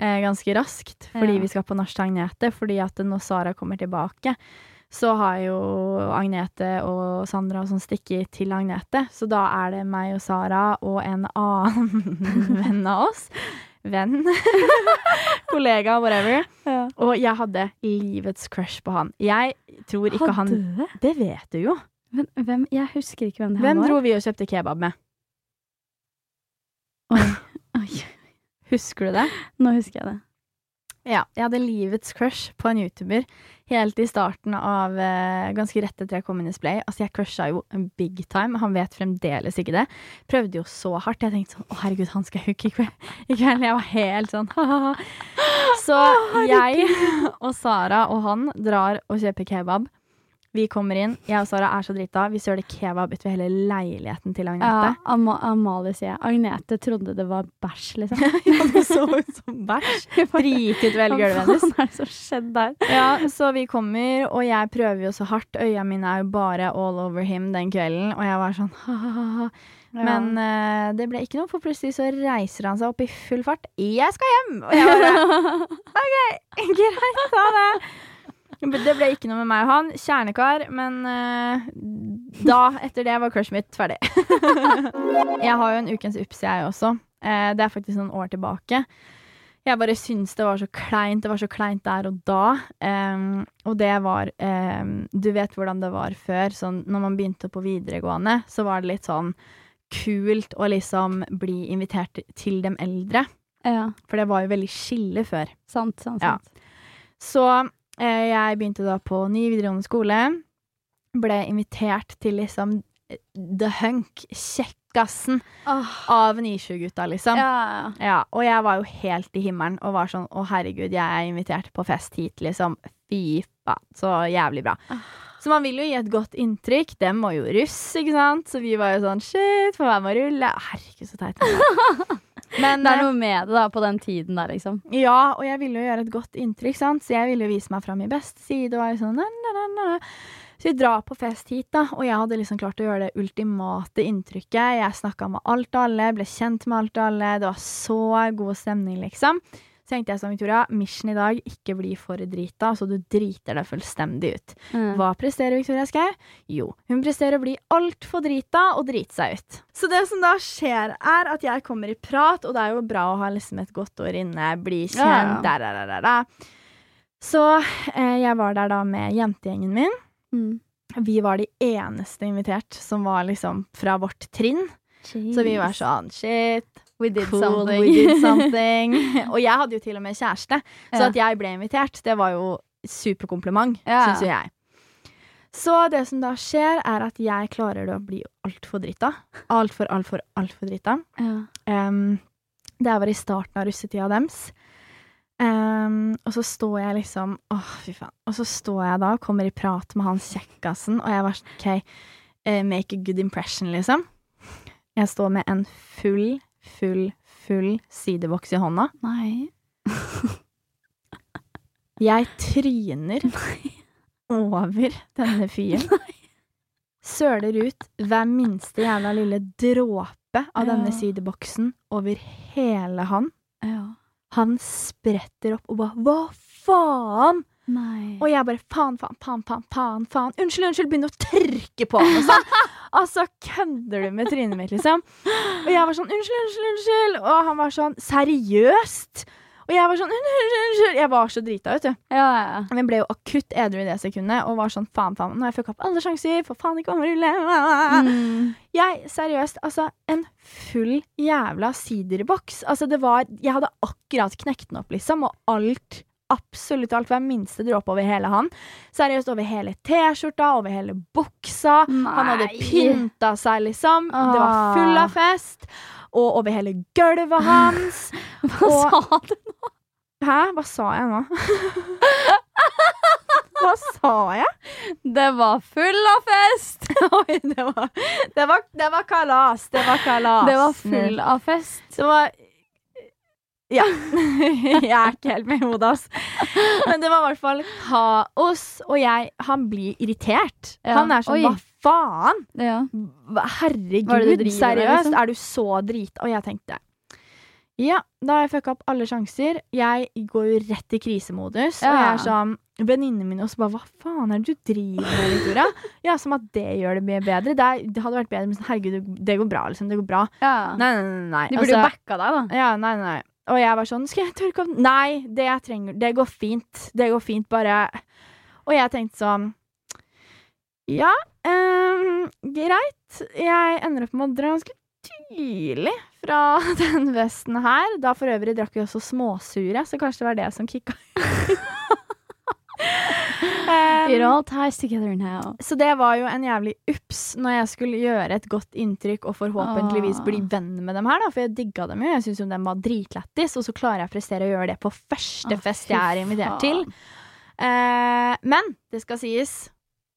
[SPEAKER 1] Eh, ganske raskt, fordi
[SPEAKER 2] Ja.
[SPEAKER 1] vi skal på nach til Agnete. Fordi at når Sara kommer tilbake, så har jo Agnete og Sandra og sånn stikket til Agnete. Så da er det meg og Sara og en annen venn av oss. Venn. Kollega, whatever. Og jeg hadde livets crush på han. Jeg tror ikke han
[SPEAKER 2] Hadde det?
[SPEAKER 1] Det vet du jo.
[SPEAKER 2] Men hvem, jeg husker ikke hvem det her
[SPEAKER 1] Hvem
[SPEAKER 2] var.
[SPEAKER 1] dro vi og kjøpte kebab med?
[SPEAKER 2] Oi,
[SPEAKER 1] Husker du det?
[SPEAKER 2] nå husker jeg det.
[SPEAKER 1] Ja. Jeg hadde livets crush på en YouTuber helt i starten av eh, ganske rett etter jeg kom inn i Splay. Altså, jeg crusha jo big time. Han vet fremdeles ikke det. Prøvde jo så hardt. Jeg tenkte sånn Å, herregud, han skal jo ikke i kveld. I kveld. Jeg var helt sånn ha-ha. Så jeg og Sara og han drar og kjøper kebab. Vi kommer inn. Jeg og Sara er så drita. Vi søler kebab utover hele leiligheten til Agnete.
[SPEAKER 2] Ja, Am Amalie sier jeg. Agnete trodde det var bæsj, liksom.
[SPEAKER 1] Ja, det så ut som bæsj. Dritet vel gulvet hennes.
[SPEAKER 2] Hva faen er det som skjedde der?
[SPEAKER 1] Ja, så vi kommer, og jeg prøver jo så hardt. Øya mine er jo bare all over him den kvelden, og jeg var sånn ha-ha-ha. Men
[SPEAKER 2] Men
[SPEAKER 1] eh, det ble ikke noe, for plutselig så reiser han seg opp i full fart. 'Jeg skal hjem!' Og jeg bare OK, greit, ha det. Men Det ble ikke noe med meg og han. Kjernekar. Men eh, da, etter det, var crushet mitt ferdig. jeg har jo en ukens ups, jeg også. Eh, det er faktisk noen år tilbake. Jeg bare syns det var så kleint. Det var så kleint der og da. Em, og det var em, Du vet hvordan det var før. Sånn, når man begynte på videregående, så var det litt sånn kult å liksom bli invitert til dem eldre.
[SPEAKER 2] ja,
[SPEAKER 1] For det var jo veldig skille før.
[SPEAKER 2] sant, sant, sant.
[SPEAKER 1] Ja. Så eh, jeg begynte da på ny videregående skole. Ble invitert til liksom eh, The Hunk, kjekkasen
[SPEAKER 2] Åh,
[SPEAKER 1] av 97-gutta, liksom. Ja.
[SPEAKER 2] ja, ja.
[SPEAKER 1] Og jeg var jo helt i himmelen og var sånn å herregud, jeg er invitert på fest hit, liksom. Fy faen, så jævlig bra.
[SPEAKER 2] Ah.
[SPEAKER 1] Så man vil jo gi et godt inntrykk. Dem var jo russ, ikke sant? Så vi var jo sånn shit, får være med å rulle. Herregud, så teit. vi var. Men eh,
[SPEAKER 2] Det er noe med det da, på den tiden der, liksom.
[SPEAKER 1] ja, og jeg ville jo gjøre et godt inntrykk, sant? så jeg ville jo vise meg fra min beste side. Og jeg sånn, na, na, na, na, na. Så vi drar på fest hit, da, og jeg hadde liksom klart å gjøre det ultimate inntrykket. Jeg snakka med alt og alle, ble kjent med alt og alle. Det var så god stemning, liksom. Så tenkte jeg sånn, Victoria, mission i dag, ikke bli for drita, så du driter deg fullstendig ut.
[SPEAKER 2] Mm.
[SPEAKER 1] Hva presterer Victoria Skau? Jo, hun presterer å bli altfor drita og drite seg ut. Så det som da skjer, er at jeg kommer i prat, og det er jo bra å ha liksom et godt år inne, bli kjent,
[SPEAKER 2] Ja, ja.
[SPEAKER 1] der, der, der, der. Så eh, jeg var der da med jentegjengen min.
[SPEAKER 2] Mm.
[SPEAKER 1] Vi var de eneste invitert som var liksom fra vårt trinn. Så vi var sånn shit,
[SPEAKER 2] We did
[SPEAKER 1] cool,
[SPEAKER 2] something.
[SPEAKER 1] we did something. og jeg hadde jo til og med kjæreste, så
[SPEAKER 2] Ja.
[SPEAKER 1] at jeg ble invitert, det var jo superkompliment,
[SPEAKER 2] Ja.
[SPEAKER 1] syns jo jeg. Så det som da skjer, er at jeg klarer det å bli altfor drita. Altfor, altfor, altfor drita.
[SPEAKER 2] ja.
[SPEAKER 1] Um, det her var i starten av russetida deres. Um, og så står jeg liksom Åh, fy faen. Og så står jeg da og kommer i prat med han kjekkasen, og jeg var sånn OK, eh, make a good impression, liksom. Jeg står med en full, full, full sideboks i hånda.
[SPEAKER 2] Nei.
[SPEAKER 1] Jeg tryner over denne fyren. Søler ut hver minste jævla lille dråpe av
[SPEAKER 2] Ja.
[SPEAKER 1] denne sideboksen over hele han.
[SPEAKER 2] Ja.
[SPEAKER 1] Han spretter opp og bare 'hva faen?'
[SPEAKER 2] Nei.
[SPEAKER 1] Og jeg bare 'faen, faen, faen, faen, faen'. faen. Unnskyld, unnskyld. Begynner å tørke på han og sånn. Altså, kødder du med trynet mitt, liksom? Og jeg var sånn 'unnskyld, unnskyld, unnskyld'. Og han var sånn 'seriøst'? Og jeg var sånn 'unnskyld, unnskyld'. Jeg var så drita, vet du.
[SPEAKER 2] ja, ja.
[SPEAKER 1] Men ble jo akutt edru i det sekundet og var sånn 'faen, faen'. Nå har jeg fucka opp alle sjanser. For faen ikke om å rulle.
[SPEAKER 2] Mm.
[SPEAKER 1] Jeg, seriøst, altså en full jævla siderboks. Altså det var, jeg hadde akkurat knekt den opp liksom, og alt, absolutt alt, hver minste dråpe over hele han. Seriøst, over hele t-skjorta, over hele buksa. Han hadde pynta seg liksom. Det var full av fest. Og over hele gulvet hans.
[SPEAKER 2] Hva sa du?
[SPEAKER 1] Hæ, hva sa jeg nå? Hva sa jeg?
[SPEAKER 2] Det var full av fest!
[SPEAKER 1] Oi, det var, det var, det var kalas. Det var kalas.
[SPEAKER 2] Det var full av fest.
[SPEAKER 1] Det var Ja. jeg er ikke helt med i hodet, ass. Men det var i hvert fall kaos, og jeg Han blir irritert.
[SPEAKER 2] Ja.
[SPEAKER 1] Han er sånn
[SPEAKER 2] Oi.
[SPEAKER 1] Hva faen?
[SPEAKER 2] Ja.
[SPEAKER 1] Hva-
[SPEAKER 2] Hva er det du
[SPEAKER 1] Herregud,
[SPEAKER 2] driver med,
[SPEAKER 1] seriøst?
[SPEAKER 2] liksom?
[SPEAKER 1] Er du så drit... Og jeg tenkte Ja, da har jeg fucka opp alle sjanser. Jeg går jo rett i krisemodus, og jeg
[SPEAKER 2] Ja.
[SPEAKER 1] er sånn Venninnene mine også bare Hva faen er det du driver med, Victoria? ja, som at det gjør det mye bedre. Det, er, det hadde vært bedre med sånn Herregud, det går bra, liksom. Det går bra.
[SPEAKER 2] ja.
[SPEAKER 1] Nei, nei, nei. nei.
[SPEAKER 2] De burde jo
[SPEAKER 1] Altså-
[SPEAKER 2] backa deg, da.
[SPEAKER 1] ja, nei, nei. Og jeg var sånn, skal jeg tørke opp? Nei, det jeg trenger, det går fint. Det går fint, bare. Og jeg tenkte sånn, Ja, ehm, greit. Jeg ender opp med å dra ganske tidlig fra den vesten her. Da for øvrig drakk vi også småsure, så kanskje det var det som kicka um,
[SPEAKER 2] It all ties together now.
[SPEAKER 1] så det var jo en jævlig ups når jeg skulle gjøre et godt inntrykk og forhåpentligvis
[SPEAKER 2] Åh.
[SPEAKER 1] bli venn med dem her, da, for jeg digga dem jo. Jeg syns jo dem var dritlættis, og så klarer jeg å prestere å gjøre det på første
[SPEAKER 2] Å,
[SPEAKER 1] fest
[SPEAKER 2] fy
[SPEAKER 1] jeg er invitert til.
[SPEAKER 2] faen.
[SPEAKER 1] Eh, men det skal sies,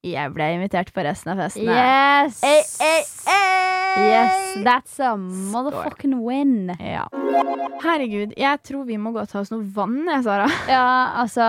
[SPEAKER 1] jeg ble invitert på resten av festen. her.
[SPEAKER 2] Yes!
[SPEAKER 1] Ei, ei, ei!
[SPEAKER 2] Yes, that's a motherfucking win.
[SPEAKER 1] Ja. Herregud, jeg tror vi må gå og ta oss noe vann, jeg, Sara.
[SPEAKER 2] Ja, altså,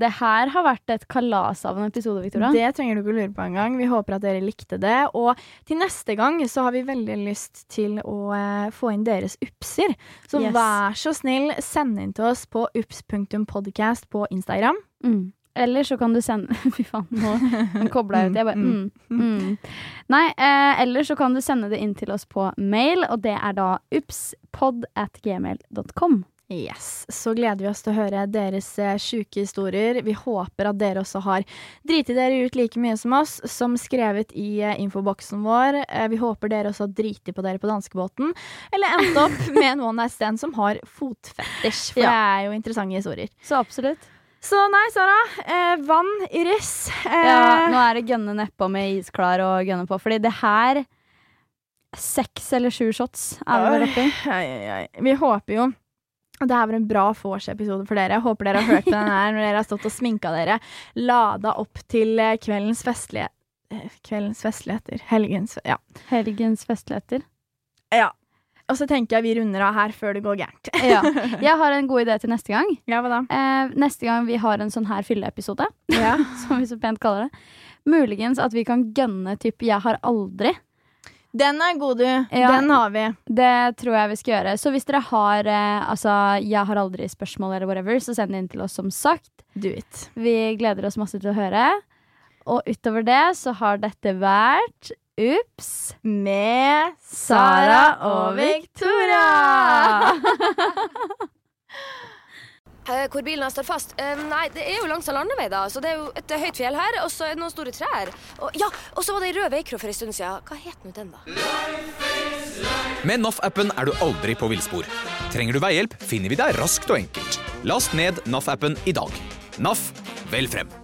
[SPEAKER 2] det her har vært et kalas av en episode, Victoria.
[SPEAKER 1] Det trenger du ikke å lure på engang. Vi håper at dere likte det. Og til neste gang så har vi veldig lyst til å eh, få inn deres upser. Så
[SPEAKER 2] Yes.
[SPEAKER 1] vær så snill, send inn til oss på ups.podcast på Instagram.
[SPEAKER 2] Mm. Eller så kan du sende Fy faen, nå den kobla jeg ut. Jeg bare, mm, mm. Nei, eh, eller så kan du sende det inn til oss på mail, og det er da upspod at gmail.com.
[SPEAKER 1] Yes. Så gleder vi oss til å høre deres eh, sjuke historier. Vi håper at dere også har driti dere ut like mye som oss, som skrevet i eh, infoboksen vår. Eh, vi håper dere også har driti på dere på danskebåten, eller endt opp med en one night stand som har fotfetisj. For
[SPEAKER 2] Ja.
[SPEAKER 1] det er jo interessante historier.
[SPEAKER 2] Så absolutt.
[SPEAKER 1] Så nei, Sara. Eh, vann, iris. Eh,
[SPEAKER 2] Ja, nå er det gønne nedpå med isklar og gønne på, fordi det her Seks eller sju shots er vi vel oppi.
[SPEAKER 1] Oi, oi, oi. Vi håper jo at det her var en bra vorseepisode for dere. Jeg håper dere har hørt på den her når dere har stått og sminka dere. Lada opp til eh, kveldens festlige eh, Kveldens festligheter. Helgens fe- Ja.
[SPEAKER 2] Helgens festligheter.
[SPEAKER 1] ja. Og så tenker jeg vi runder av her før det går gærent.
[SPEAKER 2] Ja. Jeg har en god idé til neste gang.
[SPEAKER 1] Ja, hva da?
[SPEAKER 2] Eh, neste gang vi har en sånn her fylleepisode,
[SPEAKER 1] Ja.
[SPEAKER 2] som vi så pent kaller det, muligens at vi kan gønne typ 'jeg har aldri'.
[SPEAKER 1] Den er god, du.
[SPEAKER 2] Ja.
[SPEAKER 1] Den har vi.
[SPEAKER 2] Det tror jeg vi skal gjøre. Så hvis dere har eh, altså 'jeg har aldri'-spørsmål eller whatever, så send det inn til oss, som sagt.
[SPEAKER 1] Do it.
[SPEAKER 2] Vi gleder oss masse til å høre. Og utover det så har dette vært Ups.
[SPEAKER 1] Med
[SPEAKER 2] Sara og Victoria!
[SPEAKER 5] Eh, Hvor bilen har stått fast? Eh, Nei, det er jo langs en landevei, da. Så det er jo et høyt fjell her, og så er det noen store trær. Og, ja, og så var det ei rød veikro for en stund siden. Hva het nå den, da?
[SPEAKER 4] Med NAF-appen er du aldri på villspor. Trenger du veihjelp, finner vi deg raskt og enkelt. Last ned NAF-appen i dag. NAF vel frem.